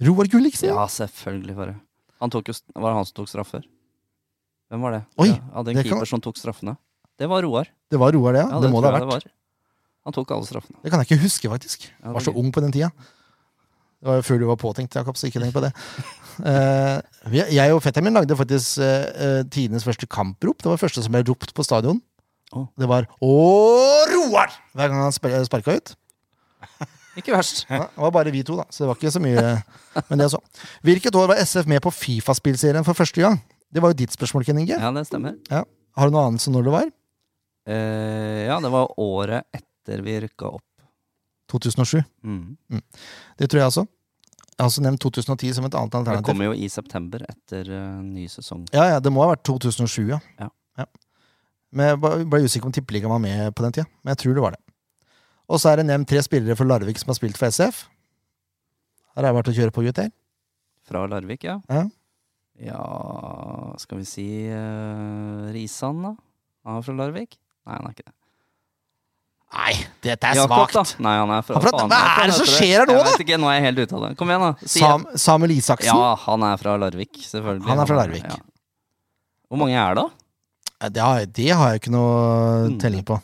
Speaker 1: Roar Gulliksen.
Speaker 2: Ja, selvfølgelig. Bare. Han tok jo, st- var det han som tok straffer? Hvem var det?
Speaker 1: Oi,
Speaker 2: ja, hadde en
Speaker 1: det kan-
Speaker 2: keeper som tok straffene. Det var Roar.
Speaker 1: Det var Roar, det, ja.
Speaker 2: Ja,
Speaker 1: det, må det
Speaker 2: tror
Speaker 1: ha
Speaker 2: jeg
Speaker 1: vært.
Speaker 2: var. Han tok alle straffene.
Speaker 1: Det kan jeg ikke huske, faktisk.
Speaker 2: Ja,
Speaker 1: var
Speaker 2: det
Speaker 1: så
Speaker 2: er
Speaker 1: ung på den tida. Det var jo før du var påtenkt, Jakob, så ikke tenk på det. Eh, vi- jeg og fetteren min lagde faktisk uh, tidenes første kamprop. Det var det første som ble ropt på stadion.
Speaker 2: Å.
Speaker 1: Det var 'Å, Roar!' hver gang han sp- sparka ut.
Speaker 2: Ikke verst.
Speaker 1: Ja, det var bare vi to, da, så det var ikke så mye. Men det er så. Hvilket år var SF med på Fifa-spillserien for første gang? Det var jo ditt spørsmål, Ken Inge.
Speaker 2: Ja, det stemmer.
Speaker 1: Har du noe annet som når det var?
Speaker 2: Eh, ja, det var året etter vi rykka opp.
Speaker 1: 2007.
Speaker 2: Mm.
Speaker 1: Det tror jeg også. Jeg har også nevnt 2010 som et annet
Speaker 2: Det
Speaker 1: alternativ.
Speaker 2: kommer jo i september etter eh, ny sesong.
Speaker 1: Ja, ja, det må ha vært 2007, ja.
Speaker 2: Ja.
Speaker 1: Men jeg ba- ble usikker om Tippeligaen var med på den tida, men jeg tror det var det. Og så er det nevnt tre spillere for Larvik som har spilt for SF. Her har jeg vært å kjøre på, gutter.
Speaker 2: Fra Larvik, ja.
Speaker 1: Ja.
Speaker 2: Ja, skal vi si eh, Risan, da? Han er fra Larvik? Nei, han er ikke det.
Speaker 1: Nei, dette er
Speaker 2: Jakob,
Speaker 1: svakt!
Speaker 2: da? Nei, han er
Speaker 1: Han
Speaker 2: fra
Speaker 1: er fra-
Speaker 2: faen,
Speaker 1: Hva
Speaker 2: jeg
Speaker 1: er det
Speaker 2: vet
Speaker 1: som skjer her nå,
Speaker 2: Jeg
Speaker 1: da?
Speaker 2: vet ikke, nå er jeg helt ute av det. Kom igjen, da. Si
Speaker 1: Sam, Samuel Isaksen.
Speaker 2: Ja, han er fra Larvik, selvfølgelig.
Speaker 1: Han er fra Larvik.
Speaker 2: ja. Hvor mange er det, da?
Speaker 1: Det, har, jeg- det har jeg ikke noe
Speaker 2: Mm.
Speaker 1: telling på.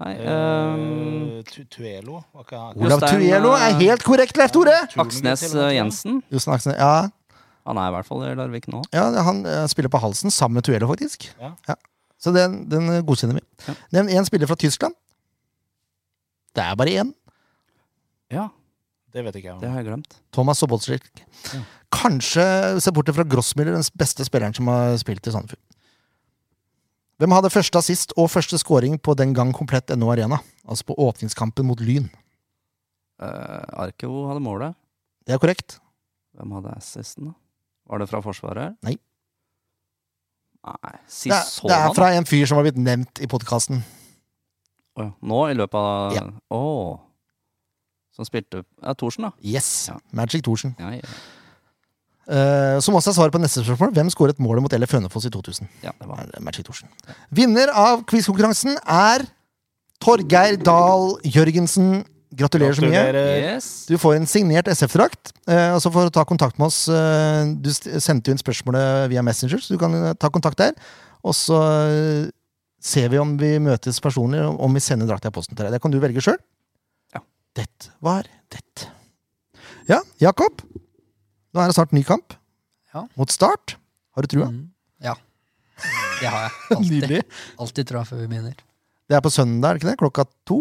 Speaker 2: Nei, ehm,
Speaker 3: Eh, Tu- Tuelo? Var ikke han-
Speaker 1: Olav
Speaker 2: Jostein,
Speaker 1: Tuello
Speaker 2: eh,
Speaker 1: er helt korrekt, Leif Tore!
Speaker 3: Tulen
Speaker 2: Aksnes eh,
Speaker 3: til og med, tror jeg.
Speaker 2: Jensen.
Speaker 1: Jostein Aksen, ja,
Speaker 2: Han er i hvert fall i Larvik nå.
Speaker 1: ja, han eh, spiller på halsen sammen med Tuello, faktisk.
Speaker 3: Ja.
Speaker 1: Så den, den eh, godkjenner vi.
Speaker 2: Ja.
Speaker 1: Nevn én spiller fra Tyskland. Det er bare én.
Speaker 2: Ja,
Speaker 3: Det vet ikke jeg.
Speaker 2: det
Speaker 3: om.
Speaker 2: har jeg glemt.
Speaker 1: Thomas Sobolslik.
Speaker 2: Ja.
Speaker 1: Kanskje, se bort fra Grossmiller, den beste spilleren som har spilt i Sandefjord. Hvem hadde første assist og første scoring på den gang komplett NO Arena? Altså på åpningskampen mot Lyn.
Speaker 2: Eh, Arkevo hadde målet.
Speaker 1: Det er korrekt.
Speaker 2: Hvem hadde assisten, da? Var det fra Forsvaret?
Speaker 1: Nei.
Speaker 2: Nei,
Speaker 1: Det er,
Speaker 2: Sisson
Speaker 1: det er fra en fyr som har blitt nevnt i podkasten.
Speaker 2: Åja, Nå i løpet av Å!
Speaker 1: Ja.
Speaker 2: Som spilte Ja, Thorsen, da.
Speaker 1: Yes.
Speaker 2: Ja.
Speaker 1: Magic Thorsen.
Speaker 2: Ja, ja.
Speaker 1: Eh, som også er svaret på neste spørsmål. Hvem skåret målet mot Elle Fønefoss i 2000?
Speaker 2: ja det var han.
Speaker 1: Nei, Magic Thorsen. Vinner av quizkonkurransen er Torgeir Dahl Jørgensen. Gratulerer så mye.
Speaker 3: Gratulerer.
Speaker 2: Yes.
Speaker 1: Eh, Du får en signert SF-drakt. Eh, og så får du ta kontakt med oss. Eh, du st- sendte jo inn spørsmålet via Messenger, så du kan eh, ta kontakt der. Og så eh, ser vi om vi møtes personlig, om- om vi sender drakta i posten til deg. Det kan du velge sjøl.
Speaker 2: Ja.
Speaker 1: Det var det. Ja, Jakob. Nå er det snart ny kamp.
Speaker 4: Ja.
Speaker 1: Mot Start. Har du trua?
Speaker 4: Mm. Ja. Det har jeg. Alltid.
Speaker 1: Nydelig.
Speaker 4: Alltid tror jeg før vi begynner.
Speaker 1: Det er på søndag, er det ikke det? Klokka to?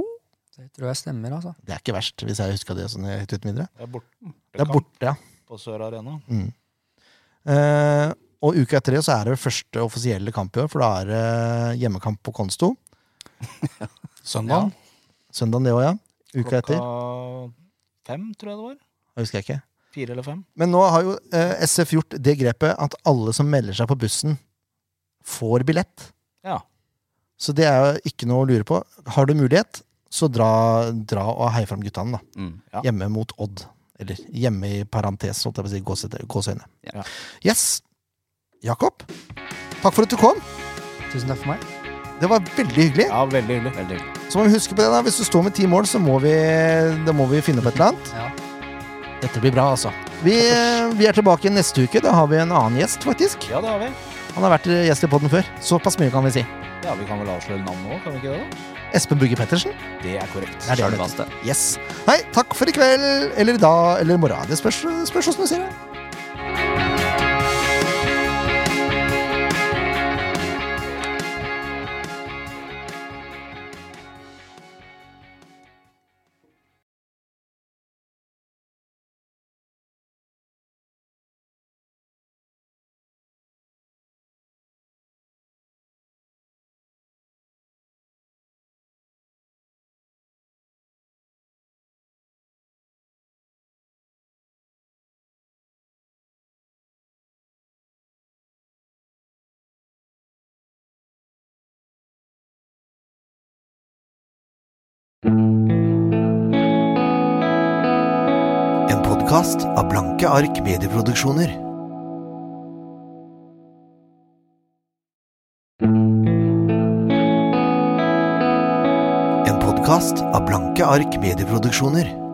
Speaker 4: Det tror jeg stemmer, altså.
Speaker 1: Det er ikke verst, hvis jeg husker det sånn helt uten videre.
Speaker 3: Det er borte
Speaker 1: Det er borte, ja.
Speaker 3: på Sør Arena.
Speaker 1: Eh, Og uka etter det så er det første offisielle kamp i år, for da er det hjemmekamp på Konsto.
Speaker 3: Søndag.
Speaker 1: Søndagen det òg, ja. Uka etter.
Speaker 3: fem, tror jeg det var.
Speaker 1: Jeg husker jeg ikke.
Speaker 3: Fire eller fem.
Speaker 1: Men nå har jo eh, SF gjort det grepet at alle som melder seg på bussen, får billett.
Speaker 3: Ja.
Speaker 1: Så det er jo ikke noe å lure på. Har du mulighet, så dra, dra og hei fram guttene, da.
Speaker 2: Mm.
Speaker 3: Ja.
Speaker 1: Hjemme mot Odd. Eller hjemme i parentes, holdt jeg på å si. gåsete- Gåseøyne.
Speaker 2: Ja.
Speaker 1: Yes. Jakob, takk for at du kom.
Speaker 4: Tusen takk for meg.
Speaker 1: Det var veldig hyggelig.
Speaker 3: Ja, veldig hyggelig.
Speaker 2: Veldig hyggelig.
Speaker 1: Så må vi huske på det da, Hvis du står med ti mål, så må vi, da må vi finne på et eller annet.
Speaker 4: Ja.
Speaker 1: Dette blir bra, altså. Vi, vi er tilbake neste uke. Da har vi en annen gjest, faktisk.
Speaker 3: Ja, det har vi.
Speaker 1: Han har vært gjest i podden før. Såpass mye kan vi si.
Speaker 3: Ja, Vi kan vel avsløre navnet òg, kan vi ikke det? da?
Speaker 1: Espen Bugge Pettersen.
Speaker 3: Det er korrekt.
Speaker 1: Det er det han heter.
Speaker 2: Sjølvaste.
Speaker 1: Yes. Hei, takk for i kveld. Eller i dag, eller i morgen. Det spørs, spørs hvordan du ser det.
Speaker 5: En podkast av Blanke ark medieproduksjoner. En podkast av Blanke ark medieproduksjoner.